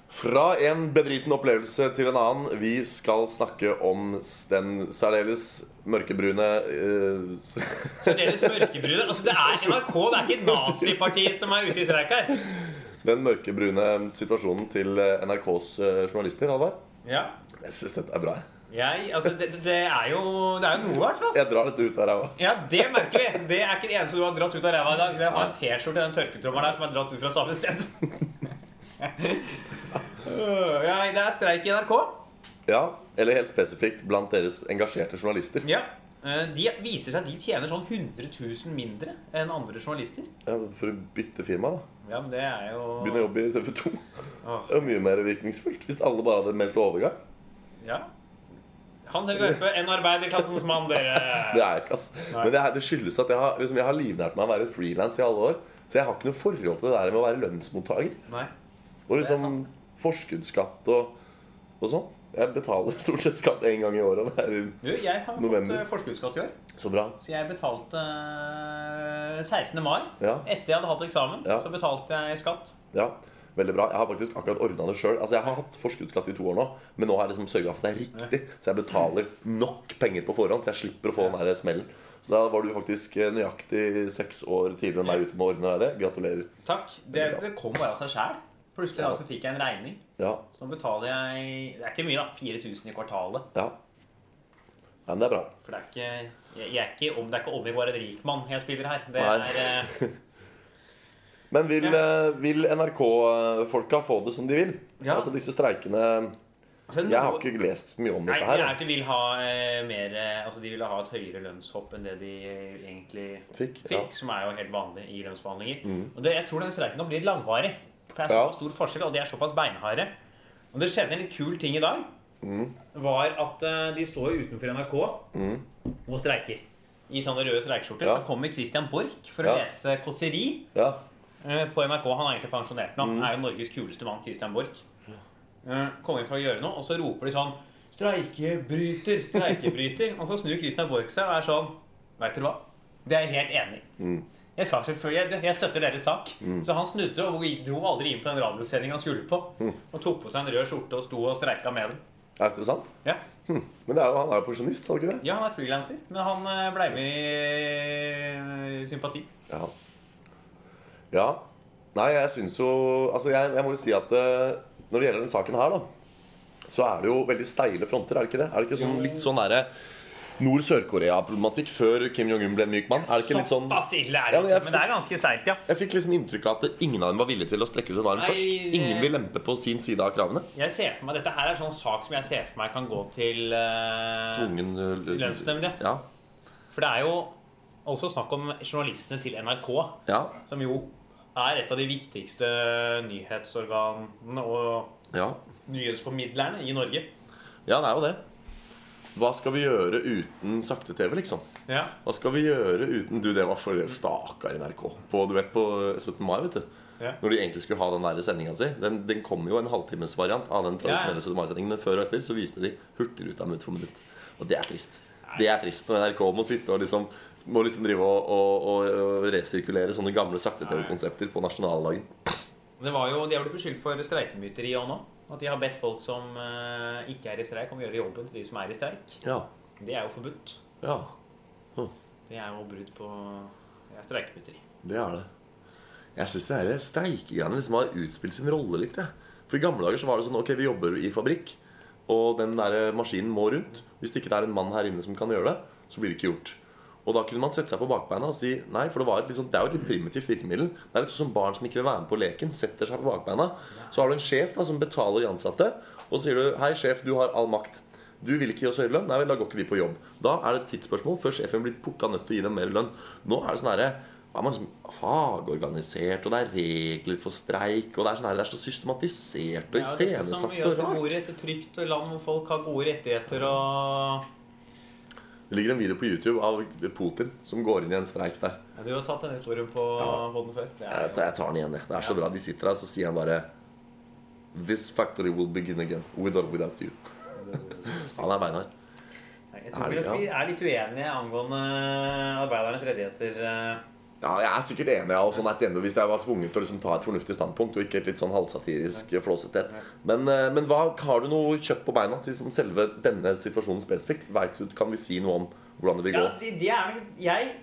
Fra en bedriten opplevelse til en annen. Vi skal snakke om s- den særdeles mørkebrune eh, s- Så deres mørkebrune Altså, det er NRK, det er ikke nazipartiet som er ute i streik her. Den mørkebrune situasjonen til eh, NRKs eh, journalister, Halvard. Ja. Jeg syns dette er bra. jeg. Jeg, altså, det, det- det, er jo, det er jo noe, i hvert fall. Jeg drar dette ut her, jeg òg. Ja, det merker vi. Det er ikke det eneste du har dratt ut av ræva i dag. Det var en T-skjorte den tørketrommelen der som er dratt ut fra samme sted. Øh, ja, det er streik i NRK. Ja, eller helt spesifikt blant deres engasjerte journalister. Ja. Eh, De viser seg at de tjener sånn 100 000 mindre enn andre journalister. Ja, for å bytte firma, da. Ja, men det er Begynne å jo jobbe i TV 2. Åh, Det er mye mer virkningsfullt hvis alle bare hadde meldt overgang. Ja. Hans Helge Ørpe, en arbeiderklassens mann, Det dere. er jeg ikke, ass. Nei. Men det, er, det skyldes at jeg har, liksom, jeg har livnært meg å være frilans i alle år. Så jeg har ikke noe forhold til det der med å være lønnsmottaker. Nei. Og liksom forskuddsskatt og, og sånn. Jeg betaler stort sett skatt én gang i året. og Det er Du, jeg har fått November. eh, forskuddsskatt i år. så bra. Så jeg betalte eh, 16. mai. Ja. Etter jeg hadde hatt eksamen, Ja. så betalte jeg skatt. Ja, veldig bra. Jeg har faktisk akkurat ordna det sjøl. Altså, jeg har hatt forskuddsskatt i to år nå, men nå har jeg liksom sørga for at det er riktig. Så jeg betaler nok penger på forhånd, så jeg slipper å få den der smellen. Så da var du faktisk eh, nøyaktig seks år tidligere enn meg ute med å ordne deg det. Gratulerer. Takk. Det, det kom bare av seg sjæl. Plutselig da, så fikk jeg en regning. Ja. Så betaler jeg Det er ikke mye, da. 4000 i kvartalet. ja. Nei, men det er bra. For det er ikke jeg, jeg er ikke om, Det er ikke om jeg var en rik mann jeg spiller her. Det Nei. er eh, Men vil, Ja. eh, vil NRK-folka få det som de vil? Ja. Altså disse streikene altså, Jeg har noe- ikke lest så mye om Nei, dette de her. er ikke vil ha eh, mer eh, Altså, de ville ha et høyere lønnshopp enn det de eh, egentlig Fikk, fikk ja. Mm. som er jo helt vanlig i lønnsforhandlinger. Og det, jeg tror den streiken nå blir langvarig. For det er Ja. såpass stor forskjell, og de er såpass beinharde. Og det skjedde en litt kul ting i dag. Mm. Var at eh, de står jo utenfor NRK og streiker. I sånne røde streikeskjorter. Ja. Så kommer Christian Borch for Ja. å lese kåseri Ja. eh, på NRK. Han er egentlig pensjonert nå. Mm. Er jo Norges kuleste mann, Christian Borch. Eh, Kommer inn for å gjøre noe, og så roper de sånn Streikebryter! Streikebryter! og så snur Christian Borch seg og er sånn Veit dere hva? Det er jeg helt enig i. Mm. Jeg, skal selvfølgelig, jeg, jeg støtter deres sak. Så han snudde og dro aldri inn på den radiosendingen han skulle på. Mm. Og tok på seg en rød skjorte og sto og streika med den. Er dette sant? Hm. Ja, Men det er jo, han er jo pensjonist, er han ikke det? ja han er frilanser, men han eh, ble med i eh, sympati. Ja. ja. Nei, jeg syns jo Altså, jeg, jeg må jo si at eh, når det gjelder den saken her, da, så er det jo veldig steile fronter, er det ikke det? Er det ikke sånn, litt sånn derre Nord-Sør-Korea-problematikk før Kim Jong-un ble en myk mann? Er det ikke litt sånn Såpass ille er Ja, det men ikke, jeg- men det er ganske sterkt, ja. Jeg fikk liksom inntrykk av at ingen av dem var villige til å strekke ut en arm Nei, først. Ingen det- vil lempe på sin side av kravene. Jeg ser for meg, Dette her er sånn sak som jeg ser for meg kan gå til eh, Tvungen eh, Lønnsnemnd, ja. ja. For det er jo også snakk om journalistene til NRK, Ja. som jo er et av de viktigste nyhetsorganene og Ja. nyhetsformidlerne i Norge. ja, det er jo det. Hva skal vi gjøre uten sakte-TV, liksom? Ja. Hva skal vi gjøre uten Du, det var for stakkar NRK. På, du vet, på 17. mai, vet du. Ja. Når de egentlig skulle ha den der sendinga si. Den, den kom jo en halvtimesvariant av den tradisjonelle Ja, 17. mai-sendingen, men før og etter så viste de Hurtigruta minutt for minutt. Og det er trist. Det er trist når NRK må sitte og liksom må liksom drive og, og, og resirkulere sånne gamle sakte-TV-konsepter på nasjonaldagen. Det var jo, De er blitt beskyldt for streikemyteri òg nå. At de har bedt folk som eh, ikke er i streik, om å gjøre jobben til de som er i streik. Ja. Det er jo forbudt. ja. Det er jo brudd på det er streikemyteri. Det er det. Jeg syns det disse streikegreiene liksom har utspilt sin rolle litt. Jeg. For I gamle dager så var det sånn Ok, vi jobber i fabrikk, og den der eh, maskinen må rundt. Hvis det ikke er en mann her inne som kan gjøre det, så blir det ikke gjort. Og da kunne man sette seg på bakbeina og si nei, for det, var et litt sånn, det er jo et litt primitivt virkemiddel. Det er litt sånn som barn som ikke vil være med på leken, setter seg på bakbeina. Så har du en sjef da, som betaler de ansatte, og så sier du hei, sjef, du har all makt. Du vil ikke gi oss høyere lønn? Nei vel, da går ikke vi på jobb. Da er det et tidsspørsmål før sjefen blir pukka nødt til å gi dem mer lønn. Nå er det sånn herre er man liksom fagorganisert, og det er regler for streik, og det er, sånn her, det er så systematisert og Ja, det er som iscenesatt gjør og at vi rart. bor i et trygt land hvor folk har gode rettigheter og Det ligger en video på YouTube av Putin som går inn i en streik der. ja, Du har tatt den historien på podden før. Det er Jeg tar, jeg tar den igjen, jeg. Det er så bra. De sitter der, så sier han bare This factory will begin again. With or without you. han er beinhard. Nei, Jeg tror Er det vel at ikke, vi er litt uenige angående arbeidernes rettigheter. eh. Ja, jeg er sikkert enig av sånn et ende hvis jeg var tvunget til å liksom ta et fornuftig standpunkt og ikke et litt sånn halvsatirisk flåsethet. Men, eh, men hva, har du noe kjøtt på beina til liksom selve denne situasjonen spesifikt? Vet du, kan vi si noe om hvordan det vil Ja, gå? altså, de- de er, nok- jeg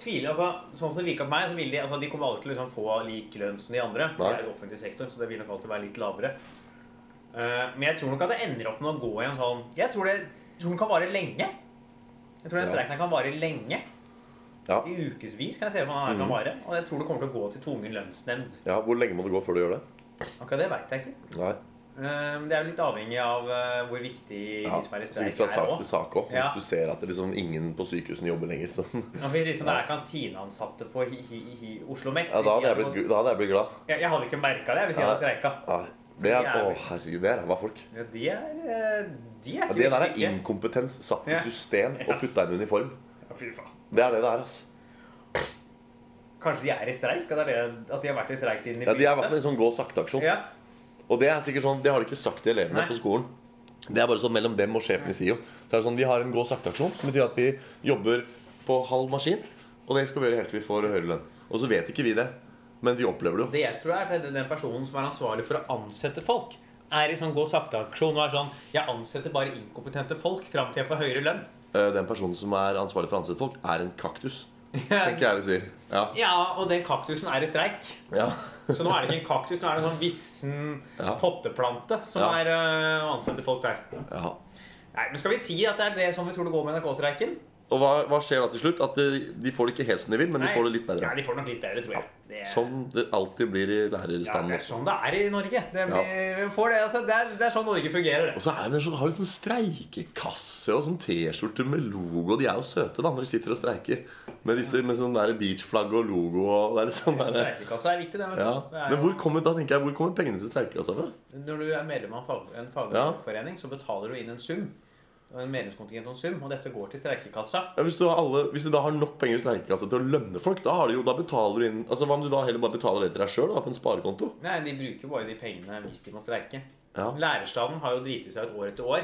tviler altså, Sånn som det virka på meg, så vil de altså, De kommer aldri til å liksom, få lik lønn som de andre. Nei. Det er jo offentlig sektor, så det vil nok alltid være litt lavere. Eh, men jeg tror nok at det ender opp med å gå i en sånn Jeg tror, det, jeg tror den kan vare lenge. Jeg tror den Ja. streiken her kan vare lenge. Ja. I ukevis kan jeg se hva den her Mhm. kan vare. Og jeg tror det kommer til å gå til tvungen lønnsnemnd. ja, Hvor lenge må det gå før du gjør det? Akkurat det veit jeg ikke. Nei. Eh, men det er jo litt avhengig av eh, hvor viktig Ja, de som er i sikkert streik, fra sak også. til sak òg. Ja. Hvis du ser at det liksom ingen på sykehusene jobber lenger, så Ja, for liksom, det er kantineansatte på hi, hi, hi, Oslo Met. Ja, da hadde jeg blitt, jeg, gu- da hadde jeg blitt glad. jeg hadde ikke merka det hvis jeg Nei. hadde streika. Nei. Det er, Jævlig. å, herregud, det er ræva folk. Ja, de er eh, De er Ja, ikke det der er viktige. inkompetens satt i Ja. system og putta i en uniform. Ja, fy faen. Det er det det er, altså. Kanskje de er i streik? At, det er det, at de har vært i streik siden de Ja, de er i hvert fall begynte? en sånn gå sakte-aksjon. Ja. Og det er sikkert sånn, det har de ikke sagt til elevene Nei. på skolen. Det er bare sånn mellom dem og sjefen i SIO. Så er det sånn, Vi har en gå sakte-aksjon, som betyr at vi jobber på halv maskin. Og det skal vi gjøre helt til vi får høyere lønn. Og så vet ikke vi det, men vi opplever det jo. Det jeg tror er at den personen som er ansvarlig for å ansette folk, er i sånn gå sakte-aksjon og er sånn Jeg ansetter bare inkompetente folk fram til jeg får høyere lønn. Eh, Den personen som er ansvarlig for å ansette folk, er en kaktus. Tenker jeg det sier. Ja. Ja, og den kaktusen er i streik. ja. Så nå er det ikke en kaktus, nå er det en sånn vissen Ja. potteplante som Ja. er øh, å ansette folk der. ja. Nei, men Skal vi si at det er det som vi tror det går med NRK-streiken? Og hva, hva skjer da til slutt? At de, de får det ikke helt som de vil, men de Nei. får det litt bedre. Sånn Ja, de får det nok litt bedre, tror jeg. Det, Som det alltid blir i ja, lærerstanden det er også. sånn det er i Norge. Det, blir, vi får det, altså, det, er, det er sånn Norge fungerer. Og det. så er det sånn, har de sånn streikekasse og sånn T-skjorte med logo. De er jo søte da når de sitter og streiker. Med, disse, med sånn der beachflagg og logo og det er litt sånn der, Streikekassa er viktig, det. vet du. ja. Det er Men jo- hvor kommer, da tenker jeg, hvor kommer pengene til streikekassa fra? Når du er medlem av fag- en fagforening, så betaler du inn en sum. og En medlemskontingent og en sum, og dette går til streikekassa. Ja, Hvis du, har alle, hvis du da har nok penger i streikekassa til å lønne folk, da, har du jo, da betaler du inn Altså, Hva om du da heller bare betaler det til deg sjøl på en sparekonto? Nei, De bruker bare de pengene hvis de må streike. Ja. Lærerstanden har jo driti seg ut år etter år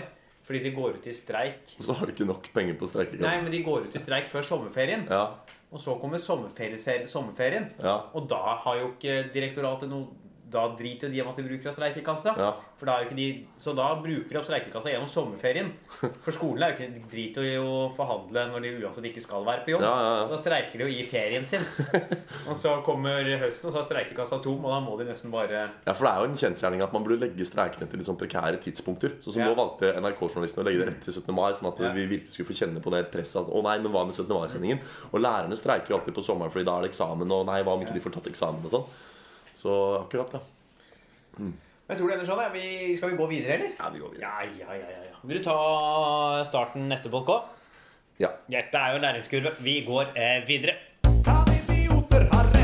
fordi de går ut i streik. Og så har du ikke nok penger på Nei, streikekassa. men de går ut i streik før sommerferien, Ja, og så kommer sommerferie- sommerferien. ja, Og da har jo ikke direktoratet noe Da driter jo de om at de bruker av streikekassa. ja. For da er jo ikke de, så da bruker de opp streikekassa gjennom sommerferien. For skolen er jo ikke drit i å forhandle når de uansett ikke skal være på jobb. Ja, ja, ja. Så da streiker de jo i ferien sin. Og så kommer høsten, og så er streikekassa tom, og da må de nesten bare Ja, for det er jo en kjensgjerning at man burde legge streikene til litt sånn prekære tidspunkter. Sånn som Ja. nå valgte NRK-journalistene å legge det rett til 17. mai, sånn at Ja. vi virkelig skulle få kjenne på det presset at å nei, men hva med 17. mai-sendingen? Og lærerne streiker jo alltid på sommeren fordi da er det eksamen, og nei, hva om ikke de får tatt eksamen og sånn. Så akkurat, ja. Men jeg tror det ender sånn. ja. Vi, skal vi gå videre, eller? Ja, vi går videre. Ja, ja, ja, ja, ja. Vil du ta starten neste bolk òg? Ja. Dette er jo læringskurve. Vi går eh, videre.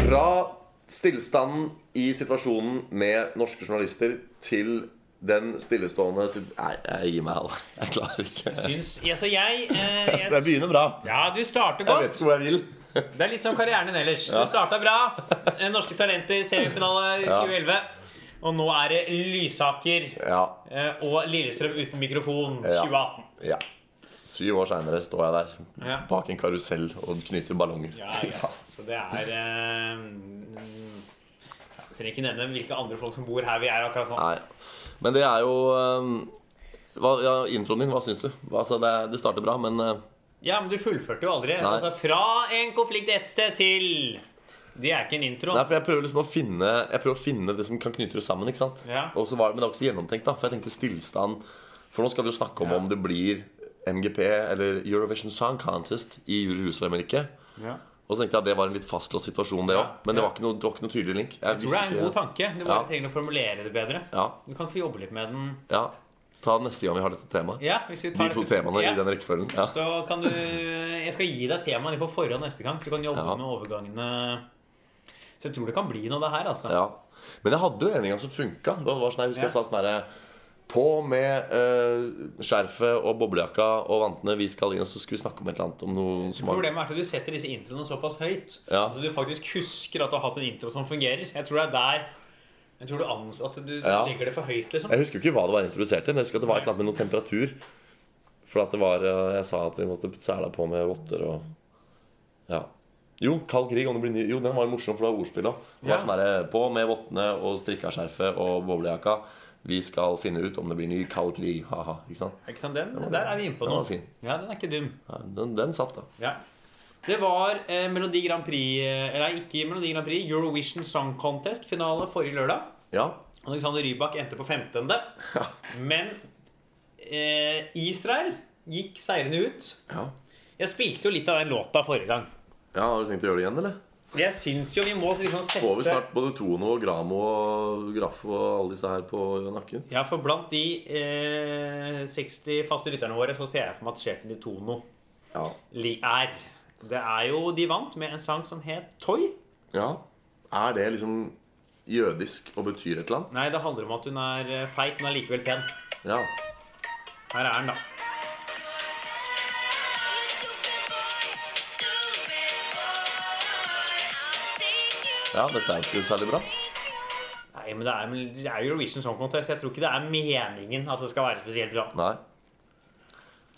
Fra stillstanden i situasjonen med norske journalister til den stillestående sit- Nei, jeg gir meg, alle. Jeg klarer ikke. Syns Altså, jeg, eh, Jeg jeg jeg begynner bra. Ja, du starter Jeg godt. vet ikke hvor jeg vil. Det er litt som karrieren din ellers. Du starta bra. Eh, Norske Talenter, semifinale i Ja. 2011. Og nå er det Lysaker Ja. eh, og Lillestrøm uten mikrofon Ja. 2018. Ja. Syv år seinere står jeg der Ja. bak en karusell og knyter ballonger. Ja, Fy ja. faen. Så det er eh, mm, jeg Trenger ikke nevne hvilke andre folk som bor her vi er akkurat nå. Nei. Men det er jo ehm, hva, ja, Introen din, hva syns du? Hva- Altså, det, det starter bra, men eh, Ja, men du fullførte jo aldri. Nei. Altså fra en konflikt ett sted til Det er ikke en intro. Nei, for jeg prøver liksom å finne Jeg prøver å finne det som kan knytte det sammen. ikke sant? Ja. Og så var det, Men det var ikke så gjennomtenkt, da. For jeg tenkte stillstand For nå skal vi jo snakke om Ja. om det blir MGP eller Eurovision Song Contest i Jerusalem eller ikke. Ja. Og så tenkte jeg at det var en litt fastlåst situasjon, det òg. Ja. Men det Ja. var ikke noe, det var ikke noe tydelig link. Jeg tror det er en god tanke. Du bare Ja. trenger å formulere det bedre. Ja, Du kan få jobbe litt med den. ja. Ta neste gang vi har dette temaet. Ja, hvis vi De tar to temaene ja. i den rekkefølgen. Ja. Så kan du Jeg skal gi deg temaet litt på forhånd neste gang, så du kan jobbe Ja. med overgangene. Så jeg tror det kan bli noe av det her, altså. Ja. Men jeg hadde jo en gang som funka. Det var sånn, her- jeg husker jeg sa sånn herre På med eh, skjerfet og boblejakka og vantene. Vi skal inn, og så skulle vi snakke om et eller annet. Om noe som var Problemet er at du setter disse introene såpass høyt Ja. at du faktisk husker at du har hatt en intro som fungerer. Jeg tror det er der Jeg tror du ans at du Ja. legger det for høyt, liksom. Jeg husker jo ikke hva det var jeg introduserte, men jeg husker at det var et eller annet med noe temperatur. For at det var eh, Jeg sa at vi måtte sæla på med votter og Ja. Jo, Kald krig. Om det blir ny Jo, den var jo morsom, for det var ordspill òg. Det var Ja. sånn herre På med vottene og strikka skjerfet og boblejakka. Vi skal finne ut om det blir ny kald krig. Ha-ha. Ikke sant? Ikke sant? Den, der er vi inne på den nå. var fin. Ja, den er ikke dum. Ja, den, den satt, da. Ja. Det var eh, Melodi Grand Prix eh, Nei, ikke Melodi Grand Prix. Eurovision Song Contest-finale forrige lørdag. Ja. Alexander Rybak endte på 15. Men eh, Israel gikk seirende ut. Ja. Jeg spilte jo litt av den låta forrige gang. ja, Har du tenkt å gjøre det igjen, eller? Jeg syns jo vi må liksom sette Får vi snart både Tono og Gramo og Graff og alle disse her på nakken? Ja, for blant de eh, 60 faste lytterne våre så ser jeg for meg at sjefen i Tono Ja. li- er Det er jo De vant med en sang som het Toy. ja. Er det liksom jødisk og betyr et eller annet? Nei, det handler om at hun er eh, feit, men allikevel pen. Ja. Her er den, da. ja, dette er ikke særlig bra. Nei, men det er, men det er Eurovision Song Contest. Jeg tror ikke det er meningen at det skal være spesielt bra. Nei.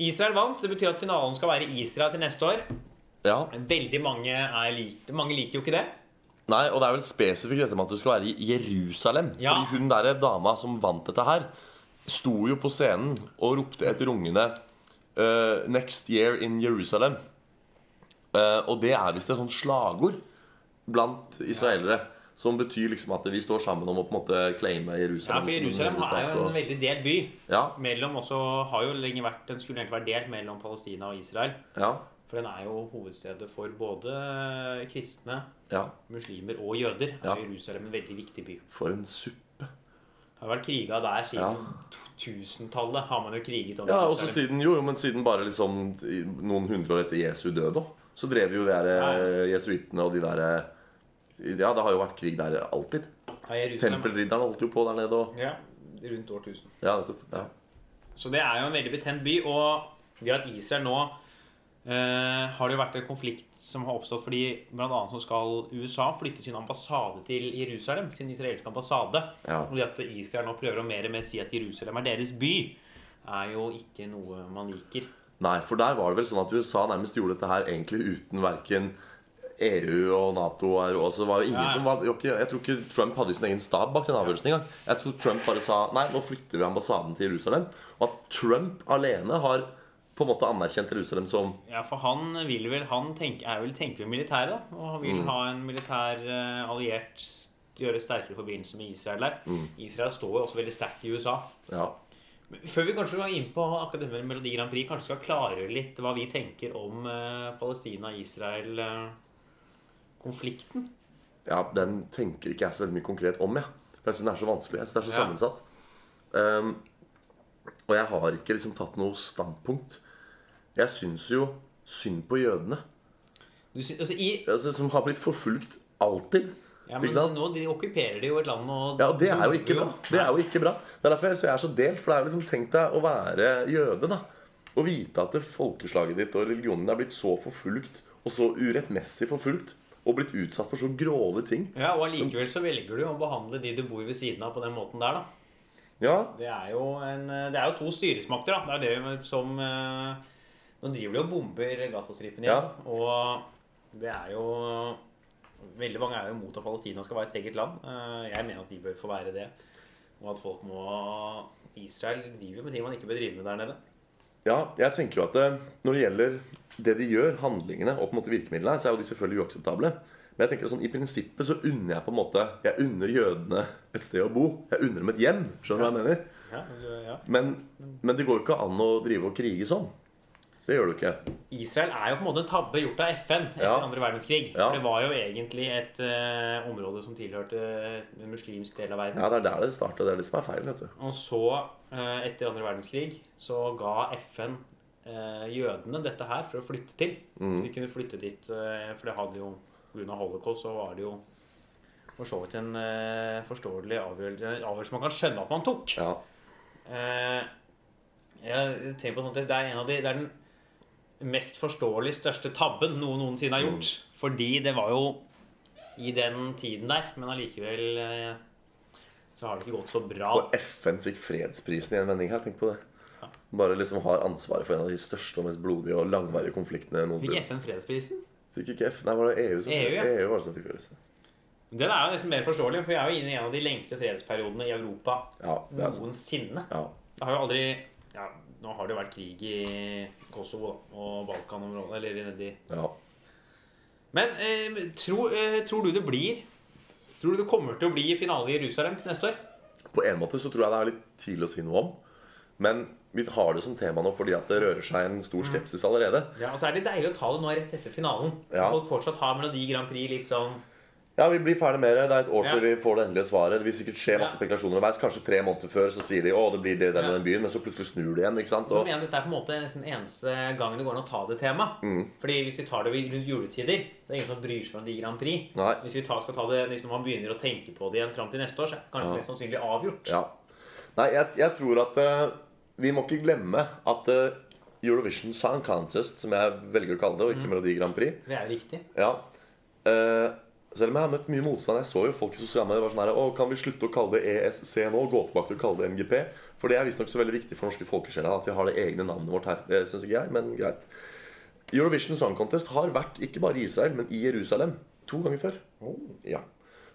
Israel vant. Det betyr at finalen skal være i Israel til neste år. Ja. Veldig mange, er lik, mange liker jo ikke det. Nei, og det er vel spesifikt dette med at du skal være i Jerusalem. Ja. Fordi hun derre dama som vant dette her, sto jo på scenen og ropte etter ungene eh, 'Next year in Jerusalem'. Eh, og det er visst et sånt slagord blant israelere. Som betyr liksom at vi står sammen om å på en måte claime Ja, Jerusalem. for som en Jerusalem hellig er stat jo og- en veldig delt by. ja, Mellom også, har jo lenge vært, Den skulle egentlig vært delt mellom Palestina og Israel. ja, For den er jo hovedstedet for både kristne, ja. muslimer og jøder. Ja. Er Jerusalem en veldig viktig by. For en suppe. Det har vært kriga der Ja. siden t- 1000-tallet. Har man jo kriget om Ja, også Jerusalem. siden, jo, jo, men siden bare liksom i- noen hundre år etter Jesu død da, Så drev jo de der eh, jesuittene og de der eh, Ja, det har jo vært krig der alltid. Ja, Jerusalem. Tempelridderne holdt jo på der nede og Ja, rundt år 1000. Ja, nettopp. Ja. Så det er jo en veldig betent by. Og det at Israel nå eh, har det jo vært en konflikt som har oppstått fordi bl.a. så skal USA flytte sin ambassade til Jerusalem. Sin israelske ambassade. Ja. Og det at Israel nå prøver å mer og mer si at Jerusalem er deres by, er jo ikke noe man liker. Nei, for der var det vel sånn at USA nærmest gjorde dette her egentlig uten verken EU og Nato og Euro- altså, det var jo ingen Nei. som var, jo ikke- Jeg tror ikke Trump hadde sin egen stab bak den avgjørelsen engang. Jeg tror Trump bare sa nei, nå flytter vi ambassaden til Jerusalem. Og at Trump alene har på en måte anerkjent Jerusalem som Ja, for han vil vel Han tenk, er vel tenker vel militær, da. Og han vil ha en militær eh, alliert s- gjøre sterkere forbindelse med Israel der. Israel står jo også veldig sterkt i USA. Ja. Før vi kanskje går inn på akkurat det med Melodi Grand Prix, kanskje skal klargjøre litt hva vi tenker om eh, Palestina-Israel-konflikten. ja, den tenker ikke jeg så veldig mye konkret om, jeg. For jeg syns den er så vanskelig. Jeg synes det er så Ja. sammensatt. Um, og jeg har ikke liksom tatt noe standpunkt. Jeg syns jo synd på jødene, Du sy- altså, i, altså, som har blitt forfulgt alltid. ja, men ikke sant? nå de okkuperer de jo et land og Ja, og det er jo ikke bra. Det er jo ikke bra. Det er derfor jeg så jeg er så delt. For det er jo liksom tenk deg å være jøde, da. Og vite at det folkeslaget ditt og religionen din er blitt så forfulgt, og så urettmessig forfulgt, og blitt utsatt for så grove ting. Ja, Og allikevel så velger du å behandle de du bor ved siden av, på den måten der, da. Ja, Det er jo, en, eh, det er jo to styresmakter, da. Det er jo det som eh, Nå driver de og bomber Gazastripen igjen. Og det er jo Veldig mange er jo imot at Palestina skal være et eget land. Eh, Jeg mener at de bør få være det. Og at folk må Israel driver jo med ting man ikke bør drive med der nede. Ja, jeg tenker jo at eh, når det gjelder det de gjør, handlingene og på en måte virkemidlene, her, så er jo de selvfølgelig uakseptable. Men jeg tenker at sånn, i prinsippet så unner jeg på en måte Jeg unner jødene et sted å bo. Jeg unner dem et hjem. Skjønner du hva jeg mener? Ja, du- ja. Men, men det går jo ikke an å drive og krige sånn. Det gjør du ikke. Israel er jo på en måte en tabbe gjort av FN etter Ja. andre verdenskrig. Ja. For det var jo egentlig et eh, område som tilhørte en muslimsk del av verden. Ja, Det er der det starter. Det er det som er feil. vet du Og så, eh, etter andre verdenskrig, så ga FN eh, jødene dette her for å flytte til. Så de kunne flytte dit, eh, for det hadde jo pga. holocaust så var det jo for så vidt en eh, forståelig avgjørelse, en avgjørelse man kan skjønne at man tok. Ja, Eh, jeg tenker på sånt, at det er en av de, det er den mest forståelig største tabben noen noensinne har gjort. Fordi det var jo i den tiden der, men allikevel eh, så har det ikke gått så bra. Og FN fikk fredsprisen i en vending her. Tenk på det. Bare liksom har ansvaret for en av de største og mest blodige og langvarige konfliktene Fikk noensinne. FN fredsprisen? Fikk ikke F... Nei, var det EU som EU, ja. EU var det som fikk prisen? Den er jo nesten mer forståelig, for vi er jo inne i en av de lengste fredsperiodene i Europa Ja, det er sant. noensinne. Ja. Det har jo aldri ja, Nå har det jo vært krig i Kosovo da, og Balkanområdet, eller nedi ja. Men eh, tro, eh, tror du det blir Tror du det kommer til å bli finale i Jerusalem neste år? På en måte så tror jeg det er litt tidlig å si noe om. Men vi har det som tema nå fordi at det rører seg en Mm. stor skepsis allerede. Ja, og så Altså, er det deilig å ta det nå rett etter finalen. Ja. Folk fortsatt har Melodi Grand Prix litt sånn Ja, vi blir ferdig med det. Det er et år til Ja. vi får det endelige svaret. Det vil sikkert skje masse Ja. spekulasjoner underveis. Kanskje tre måneder før så sier de å, det blir det i den og den byen, men så plutselig snur det igjen. ikke sant? Så Og, igjen, dette er på en måte nesten eneste gangen det går an å ta det temaet. Mm. Fordi hvis vi tar det rundt juletider, så er det ingen som bryr seg om de Grand Prix. Nei. Hvis vi tar, skal ta det liksom, man begynner å tenke på det igjen fram til neste år, så er det kanskje mest sannsynlig avgjort. ja. Nei, jeg, jeg tror at eh, vi må ikke glemme at eh, Eurovision Song Contest, som jeg velger å kalle det, og Mm. ikke Melodi Grand Prix Det er jo riktig. ja, eh, Selv om jeg har møtt mye motstand Jeg så jo folk i sosiale medier var sånn her Å, kan vi slutte å kalle det ESC nå? Gå tilbake til å kalle det MGP? For det er visstnok så veldig viktig for norske folkesjeler at vi har det egne navnet vårt her. Det syns ikke jeg, men greit. Eurovision Song Contest har vært ikke bare i Israel, men i Jerusalem to ganger før. Ja.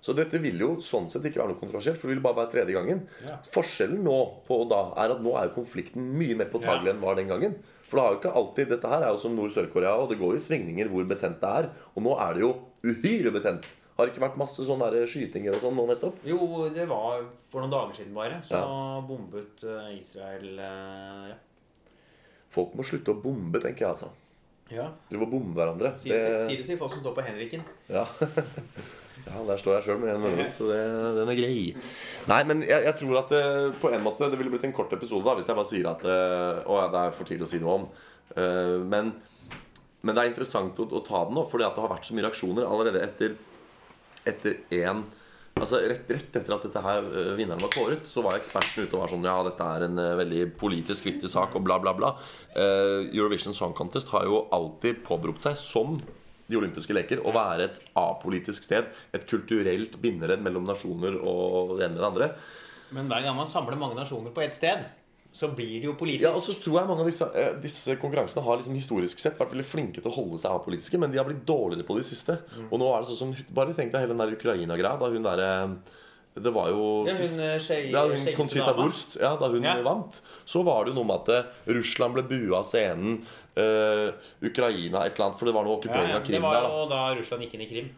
Så dette vil jo sånn sett ikke være noe kontroversielt, for det vil bare være tredje gangen. Ja. Forskjellen nå på og da er at nå er jo konflikten mye mer påtagelig enn var den gangen. For det har jo ikke alltid, Dette her er jo som Nord-Sør-Korea, og det går jo i svingninger hvor betent det er. Og nå er det jo uhyre betent. Har det ikke vært masse sånne der skytinger og sånn nå nettopp? Jo, det var for noen dager siden bare, så bombet eh, Israel eh, ja. Folk må slutte å bombe, tenker jeg altså. ja. Drive og bombe hverandre. Si det, si det til folk som står på Henriken. Ja. ja, der står jeg sjøl med en øl, så det, den er grei. Nei, men jeg, jeg tror at eh, på en måte det ville blitt en kort episode da hvis jeg bare sier at eh, Å ja, det er for tidlig å si noe om. Eh, men, men det er interessant å, å ta den nå, fordi at det har vært så mye reaksjoner allerede etter etter en Altså rett, rett etter at dette her eh, vinneren var kåret, så var eksperten ute og var sånn Ja, dette er en eh, veldig politisk viktig sak, og bla, bla, bla. Eh, Eurovision Song Contest har jo alltid påberopt seg, som de olympiske leker, å være et apolitisk sted. Et kulturelt binderedd mellom nasjoner og det ene med det andre. Men hver gang man samler mange nasjoner på ett sted, så blir det jo politisk. Ja, og så tror jeg mange av disse, eh, disse konkurransene har liksom historisk sett vært veldig flinke til å holde seg apolitiske, men de har blitt dårligere på de siste. Mm. Og nå er det sånn som Bare tenk deg hele den der Ukraina-greia. Da hun derre eh, Det var jo Ja, hun, sist- eh, skje- Da hun skjeggete Conchita dama. Wurst ja, da hun Ja. vant, så var det jo noe med at eh, Russland ble bua av scenen. eh, Ukraina et eller annet, for det var noe Ja, okkupering ja, av det Krim var der. da jo da Russland gikk inn i Krim.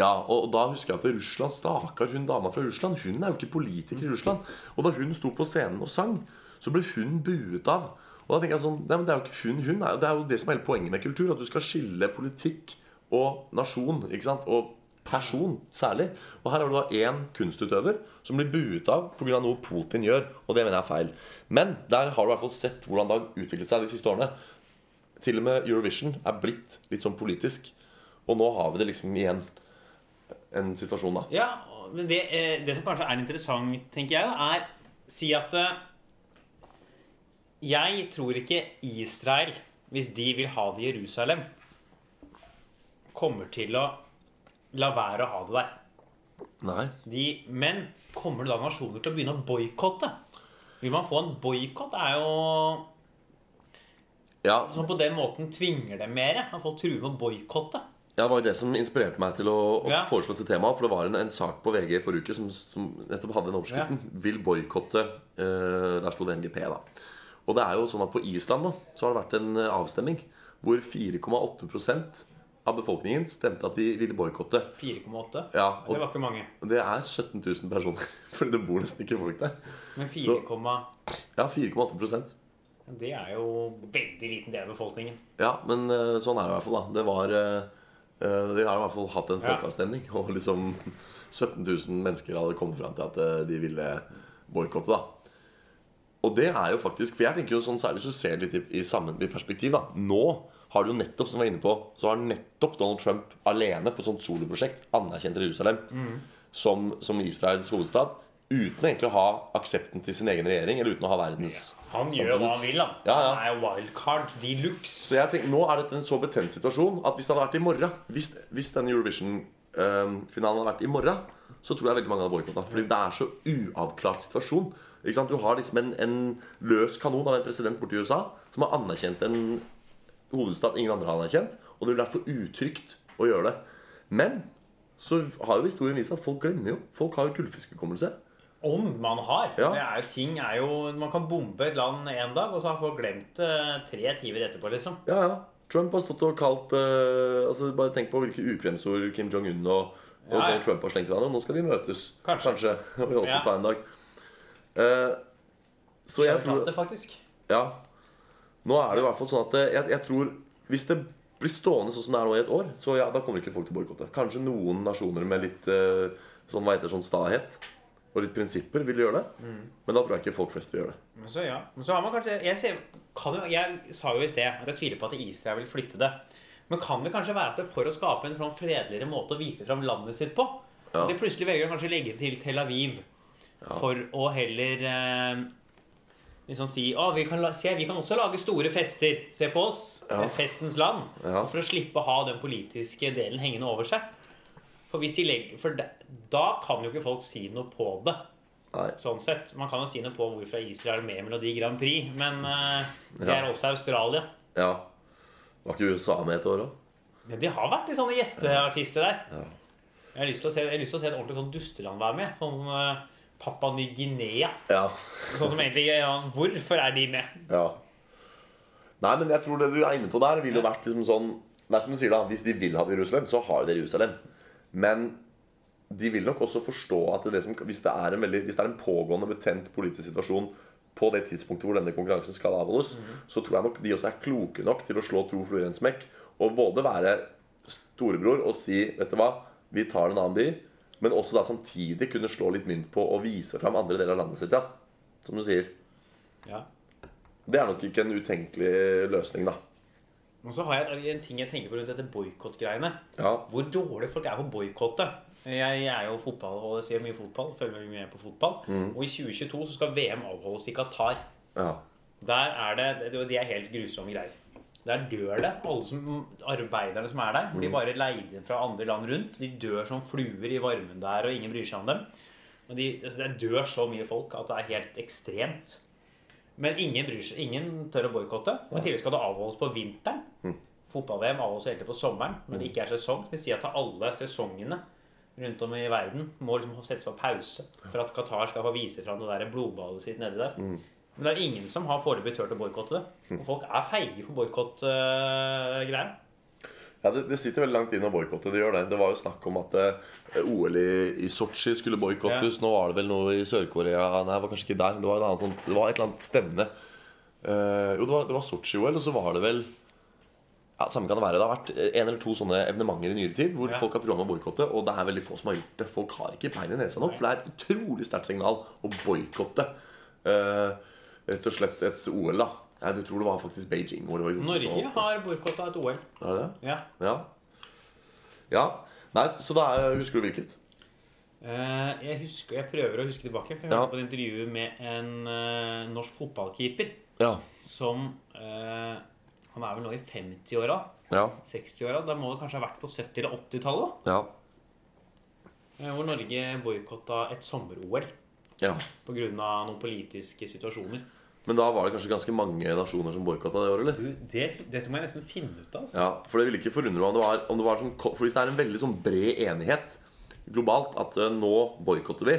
ja, og, og da husker jeg at Russland Stakkar hun dama fra Russland. Hun er jo ikke politiker i Russland. Og da hun sto på scenen og sang, så ble hun buet av. Og da tenker jeg sånn, nei, men Det er jo ikke hun, hun er, jo- det er jo det som er hele poenget med kultur. At du skal skille politikk og nasjon. ikke sant? Og person særlig. Og her har du da én kunstutøver som blir buet av pga. noe Putin gjør. Og det mener jeg er feil. Men der har du i hvert fall sett hvordan det har utviklet seg de siste årene. Til og med Eurovision er blitt litt sånn politisk. Og nå har vi det liksom igjen en situasjon, da. Ja, men det, eh, det som kanskje er interessant, tenker jeg, da, er si at eh, Jeg tror ikke Israel, hvis de vil ha det i Jerusalem, kommer til å la være å ha det der. Nei. De, men kommer det da nasjoner til å begynne å boikotte? Vil man få en boikott? er jo Ja, Som på den måten tvinger dem mer. at Folk truer med å boikotte. ja, Det var jo det som inspirerte meg til å, å Ja. foreslå til temaet. For det var en, en sak på VG i forrige uke som, som nettopp hadde den overskriften 'Vil boikotte' eh, Der sto det NGP, da. Og det er jo sånn at på Island nå så har det vært en eh, avstemning hvor 4,8 av befolkningen stemte at de ville boikotte. 4,8. Ja, Det og var ikke mange. det er 17 000 personer. Fordi det bor nesten ikke folk der. Men 4, Ja, 4,8 det er jo veldig liten del av befolkningen. Ja, men eh, sånn er det i hvert fall, da. Det var eh, eh, De har i hvert fall hatt en Ja. folkeavstemning, og liksom 17 000 mennesker hadde kommet fram til at eh, de ville boikotte, da. Og det er jo faktisk For jeg tenker jo sånn særlig så ser det litt i, i, sammen, i perspektiv, da. Nå har du jo nettopp, som vi var inne på, så har nettopp Donald Trump alene på et sånt soloprosjekt anerkjent Jerusalem som, som Israels hovedstad. Uten egentlig å ha aksepten til sin egen regjering, eller uten å ha verdens Han gjør jo hva han vil, da. Sånn Ja, ja. Han er jo wildcard de luxe. Så jeg tenker, Nå er dette en så betent situasjon at hvis det hadde vært i morgen Hvis, hvis denne Eurovision-finalen hadde vært i morgen, så tror jeg veldig mange hadde boikotta. Fordi det er så uavklart situasjon. Ikke sant? Du har liksom en, en løs kanon av en president borti USA som har anerkjent en hovedstad ingen andre har anerkjent. Og det blir derfor utrygt å gjøre det. Men så har jo historien vist at folk glemmer jo. Folk har jo gullfiskhukommelse. Om man har. Ja. Det er jo ting er jo, Man kan bombe et land en dag, og så har folk glemt det tre timer etterpå, liksom. Ja, ja. Trump har stått og kalt eh, altså Bare tenk på hvilke ukvemsord Kim Jong-un og, og Ja, ja. Donald Trump har slengt hverandre. og Nå skal de møtes, Kanskje. Og vi også Ja. ta en dag. Eh, så jeg Jeg tror klarte det faktisk. Ja. Nå er det i hvert fall sånn at eh, jeg, jeg tror Hvis det blir stående sånn som det er nå i et år, så ja, da kommer ikke folk til å boikotte. Kanskje noen nasjoner med litt eh, sånn, hva heter, det, sånn stahet og litt prinsipper vil gjøre det. Mm. Men da tror jeg ikke folk flest vil gjøre det. Men så ja. Men så har man kanskje Jeg, ser, kan jo, jeg sa jo i sted at jeg tviler på at Israel vil flytte det. Men kan det kanskje være at det for å skape en sånn fredeligere måte å vise fram landet sitt på Ja. De plutselig velger å kanskje legge til Tel Aviv for å heller eh, liksom si Å, vi kan, la, se, vi kan også lage store fester. Se på oss. Ja. Festens land. Ja. For å slippe å ha den politiske delen hengende over seg. For, hvis de legger, for da, da kan jo ikke folk si noe på det. Nei. Sånn sett. Man kan jo si noe på hvorfor er Israel med i Melodi Grand Prix, men eh, det Ja. er også Australia. Ja. Var ikke USA med et år òg? Men de har vært litt sånne gjesteartister der. Ja. Jeg har lyst til å se, jeg har lyst til å se et ordentlig sånn dusteland være med. Sånn som eh, Papua Ny-Guinea. Ja. Sånn som egentlig ja, Hvorfor er de med? ja. Nei, men jeg tror det du er inne på der, ville jo vært liksom sånn Det er som du sier, da. Hvis de vil ha Jerusalem, så har de Jerusalem. Men de vil nok også forstå at det som, hvis, det er en veldig, hvis det er en pågående betent politisk situasjon på det tidspunktet hvor denne konkurransen skal avholdes, så tror jeg nok de også er kloke nok til å slå to fluer i en smekk. Og både være storebror og si vet du hva, vi tar en annen by, men også da samtidig kunne slå litt mynt på å vise fram andre deler av landet sitt. ja, Som du sier. Ja. Det er nok ikke en utenkelig løsning, da. Og så har jeg et- en ting jeg tenker på rundt dette boikottgreiene. Ja, Hvor dårlige folk er på å boikotte. Jeg, jeg er jo fotball og jeg ser mye fotball. Følger mye med på fotball. Mm. Og i 2022 så skal VM avholdes i Qatar. ja, Der er det, det- Det er helt grusomme greier. Der dør det. Alle som, arbeiderne som er der, blir bare leid inn fra andre land rundt. De dør som fluer i varmen der, og ingen bryr seg om dem. Og de, altså, det dør så mye folk at det er helt ekstremt. Men ingen bryr seg, ingen tør å boikotte. Og i tillegg skal det avholdes på vinteren. Fotball-VM avholdes egentlig på sommeren når det ikke er sesong. Det vil si at alle sesongene rundt om i verden må liksom settes på pause for at Qatar skal få vise fram det der blodbadet sitt nedi der. Men det er ingen som har foreløpig turt å boikotte det. Og folk er feige på boikott-greier. ja det, det sitter veldig langt inn å boikotte. Det gjør det. Det var jo snakk om at eh, OL i, i Sotsji skulle boikottes. Nå var det vel noe i Sør-Korea Nei, det var kanskje ikke der. Det var, et annet sånt, det var et eller annet stevne. Eh, jo, det var, det var Sotsji-OL, og så var det vel ja, Samme kan det være. Det har vært eh, en eller to sånne evenementer i nyere tid hvor Ja. folk har trua med å boikotte, og det er veldig få som har gjort det. Folk har ikke bein i nesa nok, for det er et utrolig sterkt signal å boikotte eh, rett og slett et OL, da. Jeg tror det var faktisk Beijing. Hvor det var i 2008. Norge har boikotta et OL. Er det det? Ja. Ja. ja. Nei, så da er, husker du hvilket? Eh, Jeg, husker, jeg prøver å huske tilbake. For jeg Ja. hørte på et intervju med en eh, norsk fotballkeeper Ja. som eh, Han er vel nå i 50-åra? Ja. 60-åra? Da må det kanskje ha vært på 70- eller 80-tallet? Ja. eh, Hvor Norge boikotta et sommer-OL ja. pga. noen politiske situasjoner. Men da var det kanskje ganske mange nasjoner som boikotta det året, eller? Du, det, dette må jeg nesten finne ut av. Altså. Ja, for det ville ikke forundre meg om det var, om det var sånn, ko- For hvis det er en veldig sånn bred enighet globalt at eh, nå boikotter vi,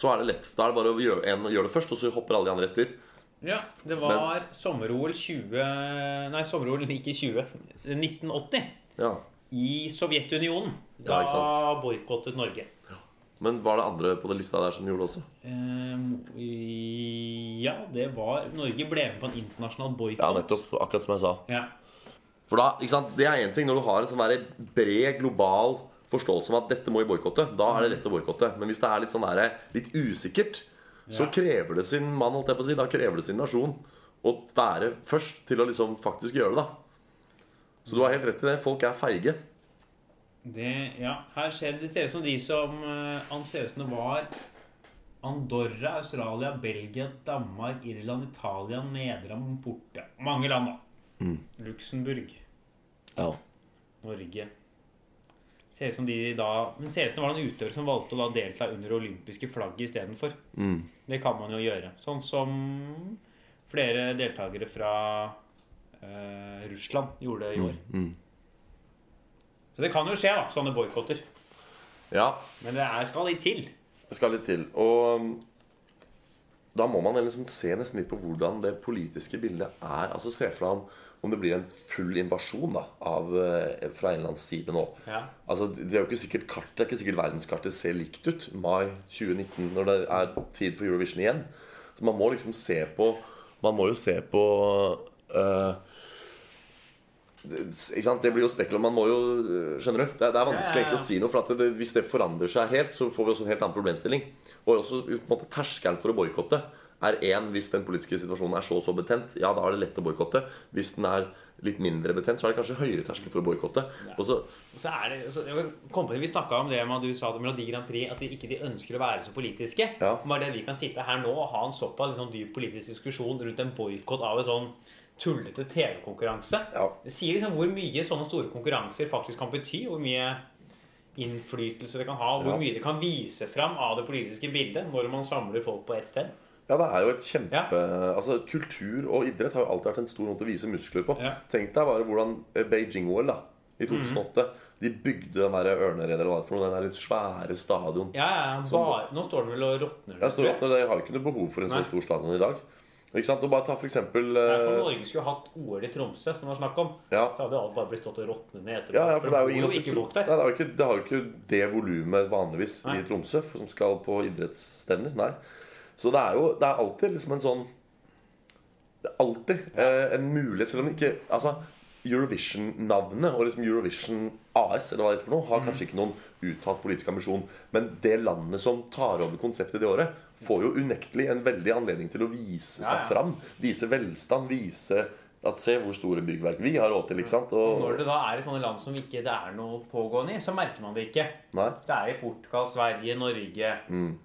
så er det lett. Da er det bare å gjøre, en, gjøre det først, og så hopper alle de andre etter. Ja, det var sommer-OL 20 Nei, sommer-OL like 20 1980 Ja. i Sovjetunionen. Da Ja, ikke sant. boikottet Norge. Men var det andre på den lista der som gjorde det også? Ehm, i- ja, det var Norge ble med på en internasjonal boikott. Ja, nettopp. Akkurat som jeg sa. Ja. For da, ikke sant, Det er én ting når du har en sånn der bred, global forståelse om at dette må vi boikotte. Da er det lett å boikotte. Men hvis det er litt, sånn der, litt usikkert, så Ja. krever det sin mann, holdt jeg på å si. Da krever det sin nasjon å være først til å liksom faktisk gjøre det. da Så du har helt rett i det. Folk er feige. Det, ja, her ser det ser ut som de som eh, Han ser ut som det var Andorra, Australia, Belgia, Danmark, Irland, Italia, Nederland, Porte. Mange land, da. Mm. Luxembourg. Ja. Norge. Ser ut som de da Men ser ut som det var noen utøvere som valgte å da delta under olympiske flagget istedenfor. Mm. Det kan man jo gjøre. Sånn som flere deltakere fra eh, Russland gjorde i år. Mm. Så det kan jo skje, da, sånne boikotter. Men det er, skal litt til. Det skal litt til. Og um, da må man liksom se nesten litt på hvordan det politiske bildet er. Altså Se for deg om, om det blir en full invasjon da, av, eh, fra en eller annen side nå. Ja. Altså, det er jo ikke sikkert kartet, det er ikke sikkert verdenskartet ser likt ut mai 2019, når det er tid for Eurovision igjen. Så man må liksom se på Man må jo se på eh, det, ikke sant? det blir jo spekkel, man må jo øh, Skjønner du? Det er, det er vanskelig Ja, ja, ja. egentlig å si noe. For at det, hvis det forandrer seg helt, så får vi også en helt annen problemstilling. Og også på en måte terskelen for å boikotte er én hvis den politiske situasjonen er så og så betent. Ja, da er det lett å boikotte. Hvis den er litt mindre betent, så er det kanskje høyere terskel for å boikotte. Og så Og så er det, så, jeg kom på, det, Vi snakka om det med at du sa det om Melodi Grand Prix, at de ikke de ønsker å være så politiske. Ja. Bare det at vi kan sitte her nå og ha en såpass liksom, dyp politisk diskusjon rundt en boikott av en sånn tullete TV-konkurranse. Ja. Det sier liksom hvor mye sånne store konkurranser faktisk kan bety. Hvor mye innflytelse det kan ha, hvor Ja. mye det kan vise fram av det politiske bildet når man samler folk på ett sted. Ja, det er jo et kjempe Ja. Altså, Kultur og idrett har jo alltid vært en stor måte å vise muskler på. Ja. Mhm. Tenk deg bare hvordan eh, Beijing-OL da i 2008 De bygde den der ørneredet eller hva det er for noe, den der svære stadion. Ja, ja, ja, Som- bare, Nå står den vel og råtner. Ja, står at De har jo ikke noe behov for en Nei. så stor stadion i dag. Ikke sant? Og bare ta for eksempel Det er eh, for Norge skulle hatt OL i Tromsø, som det var snakk om. Ja. Så hadde alt bare blitt stått og råtnet ned etterpå. Ja, ja, for det er jo bor ingen ikke folk der. Nei, det, er jo ikke, det har jo ikke det volumet vanligvis Nei. i Tromsø for, som skal på idrettsstevner. Nei. Så det er jo det er alltid liksom en sånn Det er alltid eh, en mulighet, selv om det ikke Altså, Eurovision-navnet og liksom Eurovision AS eller hva det heter for noe, har Mm. kanskje ikke noen uttalt politisk ambisjon, men det landet som tar over konseptet det året, får jo unektelig en veldig anledning til å vise Ja, seg ja. fram. Vise velstand, vise at Se hvor store byggverk vi har råd til, ikke sant? Og, Når det da er i sånne land som ikke det er noe pågående i, så merker man det ikke. Nei. Hvis det er i Portugal, Sverige, Norge,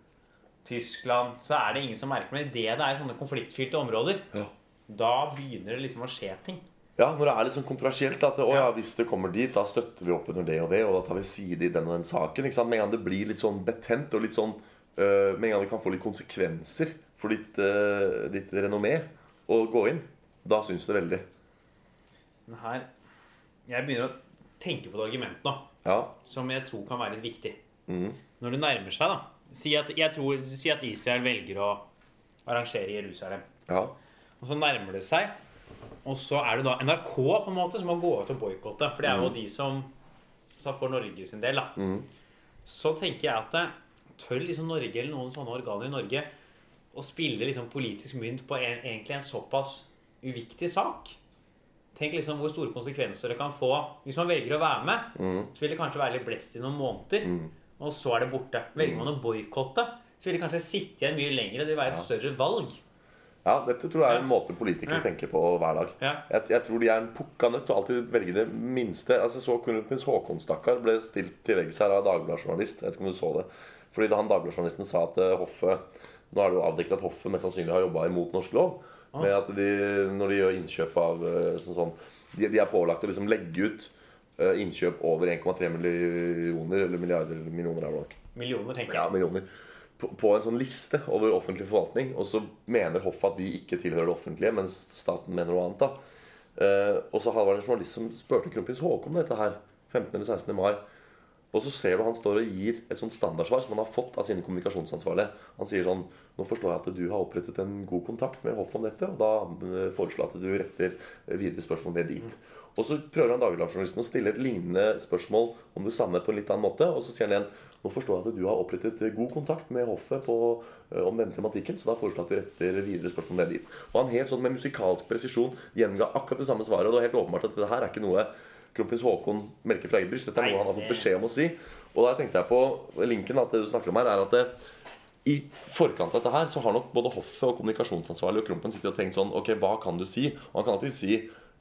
Tyskland, så er det ingen som merker det. Idet det er sånne konfliktfylte områder, Ja. da begynner det liksom å skje ting. Ja, når det er litt sånn kontroversielt at å, ja, Ja. hvis det kommer dit, da støtter vi opp under det og det, og da tar vi side i den og den saken. Ikke sant? Med en gang det blir litt sånn betent og litt sånn øh, Med en gang det kan få litt konsekvenser for ditt, øh, ditt renommé å gå inn, da syns det veldig. Men her Jeg begynner å tenke på et argument nå Ja. som jeg tror kan være litt viktig. Når det nærmer seg, da si at, jeg tror, si at Israel velger å arrangere i Jerusalem. Ja. Og så nærmer det seg. Og så er det da NRK på en måte som må gå ut og boikotte. For det er jo de som sa for Norge sin del, da. Så tenker jeg at eh, tør liksom Norge eller noen sånne organer i Norge å spille liksom politisk mynt på en, egentlig en såpass uviktig sak? Tenk liksom hvor store konsekvenser det kan få hvis man velger å være med. Så vil det kanskje være litt blest i noen måneder, og så er det borte. Velger man å boikotte, så vil det kanskje sitte igjen mye lenger, og det vil være et større valg. ja, dette tror jeg er en måte politikere Ja. tenker på hver dag. Ja. Jeg, jeg tror de er en pukka nødt til å alltid velge det minste. Altså så Kronrud Prins Haakon, stakkar, ble stilt til veggs her av en Dagbladet-journalist. Jeg vet ikke om du så det. Fordi da han Dagbladet-journalisten sa at eh, hoffet Nå er det jo avdekket at hoffet mest sannsynlig har jobba imot norsk lov. Ah. Med at de, når de gjør innkjøp av eh, sånn, sånn de, de er pålagt å liksom legge ut eh, innkjøp over 1,3 millioner eller milliarder eller millioner av blokk Millioner, tenker jeg. ja, millioner på, på en sånn liste over offentlig forvaltning. Og så mener hoffet at de ikke tilhører det offentlige, mens staten mener noe annet. da. Eh, og så var det en journalist som spurte kronprins Haakon om dette her. 15. eller 16. mai. Og så ser du han står og gir et sånt standardsvar som han har fått av sine kommunikasjonsansvarlige. Han sier sånn Nå forstår jeg at du har opprettet en god kontakt med hoffet om dette, og da eh, foreslår jeg at du retter eh, videre spørsmål Mm. ned dit. Og så prøver han Dagbladet-journalisten å stille et lignende spørsmål om det samme på en litt annen måte, og så sier han igjen Nå forstår jeg at du har opprettet eh, god kontakt med hoffet på, eh, om denne tematikken, så da foreslår jeg at du retter videre spørsmål ned dit. Og han helt sånn med musikalsk presisjon gjenga akkurat det samme svaret, og det er helt åpenbart at dette her er ikke noe Kronprins Haakon melker fra eget bryst. Dette er Nei, noe han har fått det- beskjed om å si. Og da tenkte jeg på linken at det du snakker om her, er at det, i forkant av dette her så har nok både hoffet og kommunikasjonsansvarlig og Krompen sittet og tenkt sånn Ok, hva kan du si? Og han kan alltid si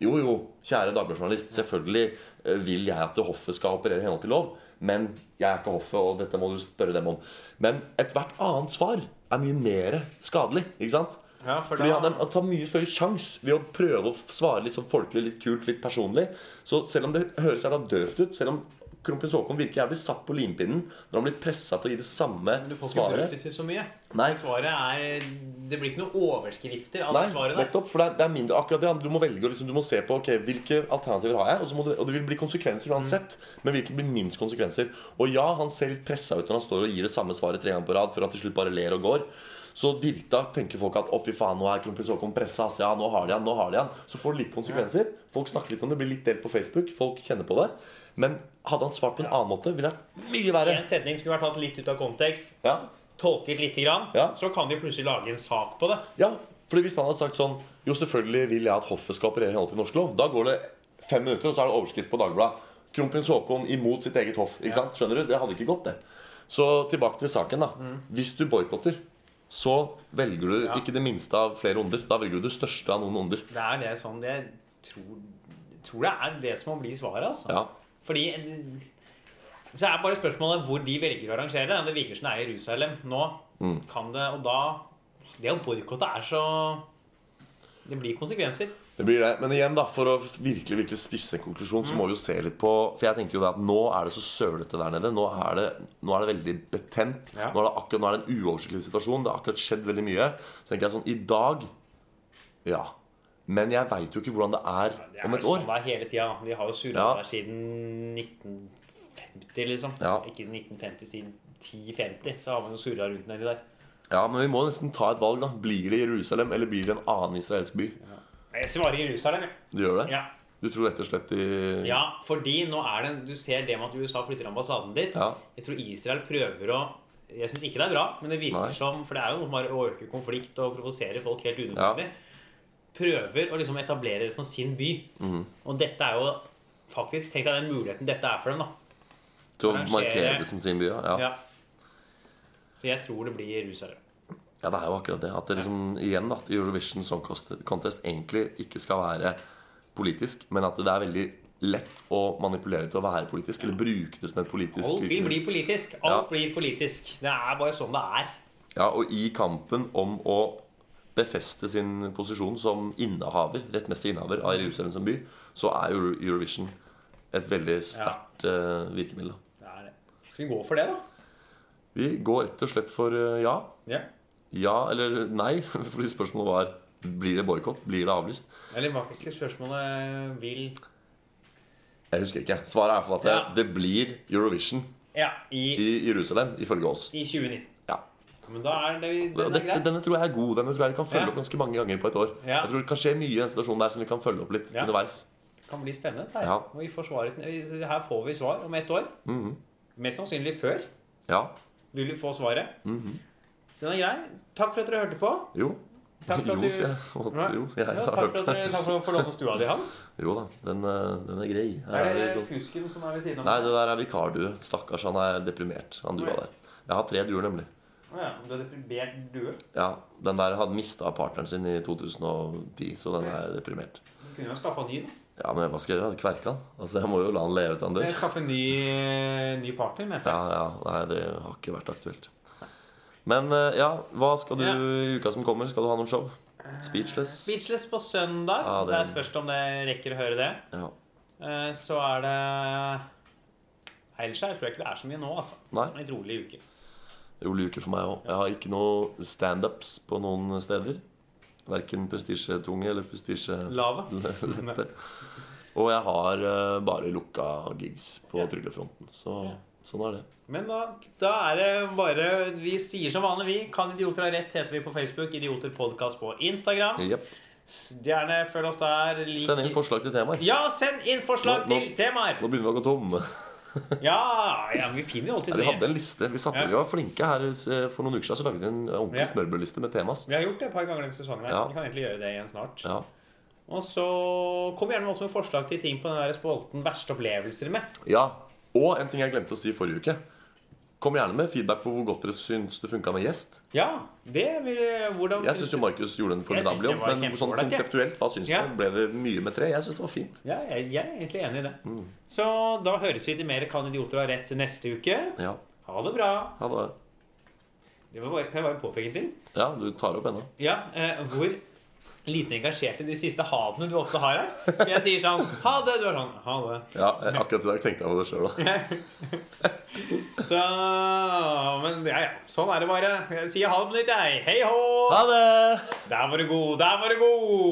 jo, jo, kjære dagbladjournalist, selvfølgelig eh, vil jeg at hoffet skal operere i henhold til lov, men jeg er ikke hoffet, og dette må du spørre dem om. Men ethvert annet svar er mye mer skadelig, ikke sant? Ja, for Fordi da- han, han tar mye større sjans ved å prøve å svare litt sånn folkelig, litt kult, litt personlig. Så selv om det høres jævla døvt ut, selv om kronprins Haakon virker jævlig satt på limpinnen når han blir pressa til å gi det samme Men du får ikke svaret brukt det til så mye. Nei. Svaret er Det blir ikke noen overskrifter av Nei, det svaret der. nettopp, for det er, det er mindre akkurat det. Du må velge og liksom, du må se på ok, hvilke alternativer har jeg og, så må du, og det vil bli konsekvenser Mm. uansett. Men hvilke blir minst konsekvenser? Og ja, han ser litt pressa ut når han står og gir det samme svaret tre ganger på rad før han til slutt bare ler og går. Så virkta tenker folk at å fy faen, nå er kronprins Haakon pressa. ass. Ja, nå har de han, nå har de han. Så får det litt konsekvenser. Folk snakker litt om det, blir litt delt på Facebook. Folk kjenner på det. Men hadde han svart på en annen måte, ville det vært mye verre. En setning skulle vært tatt litt ut av kontekst, Ja, tolket lite grann, Ja. så kan de plutselig lage en sak på det. ja fordi hvis han hadde sagt sånn Jo, selvfølgelig vil jeg at hoffet skal operere i henhold til norsk lov. Da går det fem minutter, og så er det overskrift på Dagbladet. Kronprins Haakon imot sitt eget hoff. Ikke sant? Skjønner du? Det hadde ikke gått, det. Så tilbake til saken, da. Hvis du boikotter, så velger du Ja. ikke det minste av flere onder. Da velger du det største av noen onder. Det er det sånn Jeg tror, tror det er det som må bli svaret, altså. Ja. Fordi Så er bare spørsmålet hvor de velger å arrangere det. Det virker som det er i Jerusalem nå. Mm. Kan det Og da Det å boikotte er så Det blir konsekvenser. Det blir det. Men igjen, da, for å virkelig virkelig spisse en konklusjon, så må vi jo se litt på For jeg tenker jo da at nå er det så sølete der nede. Nå er det, nå er det veldig betent. Ja. Nå, er det akkurat, nå er det en uoversiktlig situasjon. Det har akkurat skjedd veldig mye. Så tenker jeg sånn I dag Ja. Men jeg veit jo ikke hvordan det er Det er om et vel år. sånn det er hele tida. Vi har jo surret Ja. der siden 1950, liksom. Ja. Ikke 1950, siden 1050. Så har man jo surra rundt nedi der. Ja, Men vi må nesten ta et valg, da. Blir det Jerusalem, eller blir det en annen israelsk by? Jeg svarer Jerusalem, jeg. Du gjør det? Ja. Du tror rett og slett i ja, fordi nå er det Du ser det med at USA flytter ambassaden dit. Ja. Jeg tror Israel prøver å Jeg syns ikke det er bra, men det virker Nei. som For det er jo noe med å øke konflikt og provosere folk helt unødvendig. Prøver å liksom etablere det som sin by. Mhm. Og dette er jo faktisk Tenk deg den muligheten dette er for dem, da. Til å Arrangere- markere det som sin by? Ja. Ja. Så jeg tror det blir Jerusalem. Ja, det er jo akkurat det. At det liksom, igjen da, at Eurovision Song Contest- Contest egentlig ikke skal være politisk, men at det er veldig lett å manipulere til å være politisk, eller bruke det som et politisk Alt vil virkemiddel. bli politisk. Alt Ja. blir politisk. Det er bare sånn det er. Ja, Og i kampen om å befeste sin posisjon som innehaver, rettmessig innehaver av Jerusalem som by, så er Euro Eurovision et veldig sterkt eh, virkemiddel. da. det, er det. Skal vi gå for det, da? Vi går rett og slett for eh, ja. Ja. Ja eller nei, fordi spørsmålet var blir det boikott, blir det avlyst. Eller hva skal spørsmålet vil Jeg husker ikke. Svaret er for at det, Ja. det blir Eurovision Ja, i, i Jerusalem, ifølge oss. i 2019. Ja. Men da er det Og Den er Dette, grei. denne tror jeg er god. Denne tror jeg vi kan følge Ja. opp ganske mange ganger på et år. Ja. Jeg tror det kan skje mye i den situasjonen der som vi kan følge opp litt Ja. underveis. Kan bli spennende. dette Ja. Her. Og vi får svaret, her får vi svar om ett år. Mhm. Mest sannsynlig før Ja. vil vi få svaret. Mhm. Så den er grei. Takk for at dere hørte på. Jo. Takk for at jo, du- sier jeg. Og- Nei. Jo, Ja, jeg har takk, for hørt at det. dere, takk for å få låne stua di, Hans. Jo da, den, eh, den er grei. Her Er er det det sånn- kusken som er ved siden av? Nei, det der er vikardue. Stakkars, han er deprimert, han dua Oi. der. Jeg har tre duer, nemlig. Å ja, Du er deprimert due? Ja, Den der hadde mista partneren sin i 2010, så den er deprimert. Du kunne jo skaffa ny, da. Ja, men hva skal jeg gjøre? Kverke han? Altså, Jeg må jo la han leve til han dør. Jeg skaffe en ny, ny partner, mente jeg. Ja, ja, nei, det har ikke vært aktuelt. Men eh, ja, hva skal du Ja. Eh, i uka som kommer? Skal du ha noen show? Speechless? Speechless på søndag. Ja, det- det... er spørs om dere rekker å høre det. Ja. Eh, Så er det Ellers er- jeg tror jeg ikke det er så mye nå, altså. Nei. En rolig uke. Rolig uke for meg òg. Jeg har ikke noe standups på noen steder. Verken prestisjetunge eller prestisjelette. Lava. Og jeg har eh, bare lukka gigs på Ja. tryllefronten. Så Ja. sånn er det. Men da, da er det bare Vi sier som vanlig, vi. Kan idioter ha rett, heter vi på Facebook. Idioter podcast på Instagram. Jepp. Gjerne følg oss der. Lik- Send inn forslag til temaer. Ja, send inn forslag Nå- nå- til temaer! Nå begynner vi å gå tom. Ja, ja, vi finner jo Ja, alltid vi hadde det. en liste. Vi, satte, Ja. vi var flinke her eh, for noen uker siden. Så lagde vi en ordentlig Ja. smørbrødliste med temas. Vi har gjort det et par ganger denne sesongen. her Ja. Vi kan egentlig gjøre det igjen snart. Ja. Og så kom gjerne med også med forslag til ting på den der spolten verste opplevelser med. Ja, og en ting jeg glemte å si forrige uke. Kom gjerne med feedback på hvor godt dere syns det funka med gjest. Ja, det vil eh, Hvordan Jeg syns jo Markus gjorde en Jeg synes formidabel det jobb, var men sånn kjempeålreit, ja. konseptuelt, hva syns Ja. du? Ble det mye med tre? Jeg syns det var fint. ja, jeg, jeg er egentlig enig i det. Mm. Så da høres vi til mer Kan idioter ha rett neste uke. Ja, Ha det bra. ja, da, Det var bare, kan jeg bare påpeke en ting? ja du tar opp ennå. Ja, eh, hvor lite engasjert i de siste havene du ofte har her. For Jeg sier sånn Ha det! Du er sånn Ha det. Ja, eh, akkurat i dag tenkte jeg på det sjøl òg. Så Men ja, ja. Sånn er det bare. Jeg sier ha det på nytt, jeg. Hei hå! Ha det! Der var du god. Der var du god!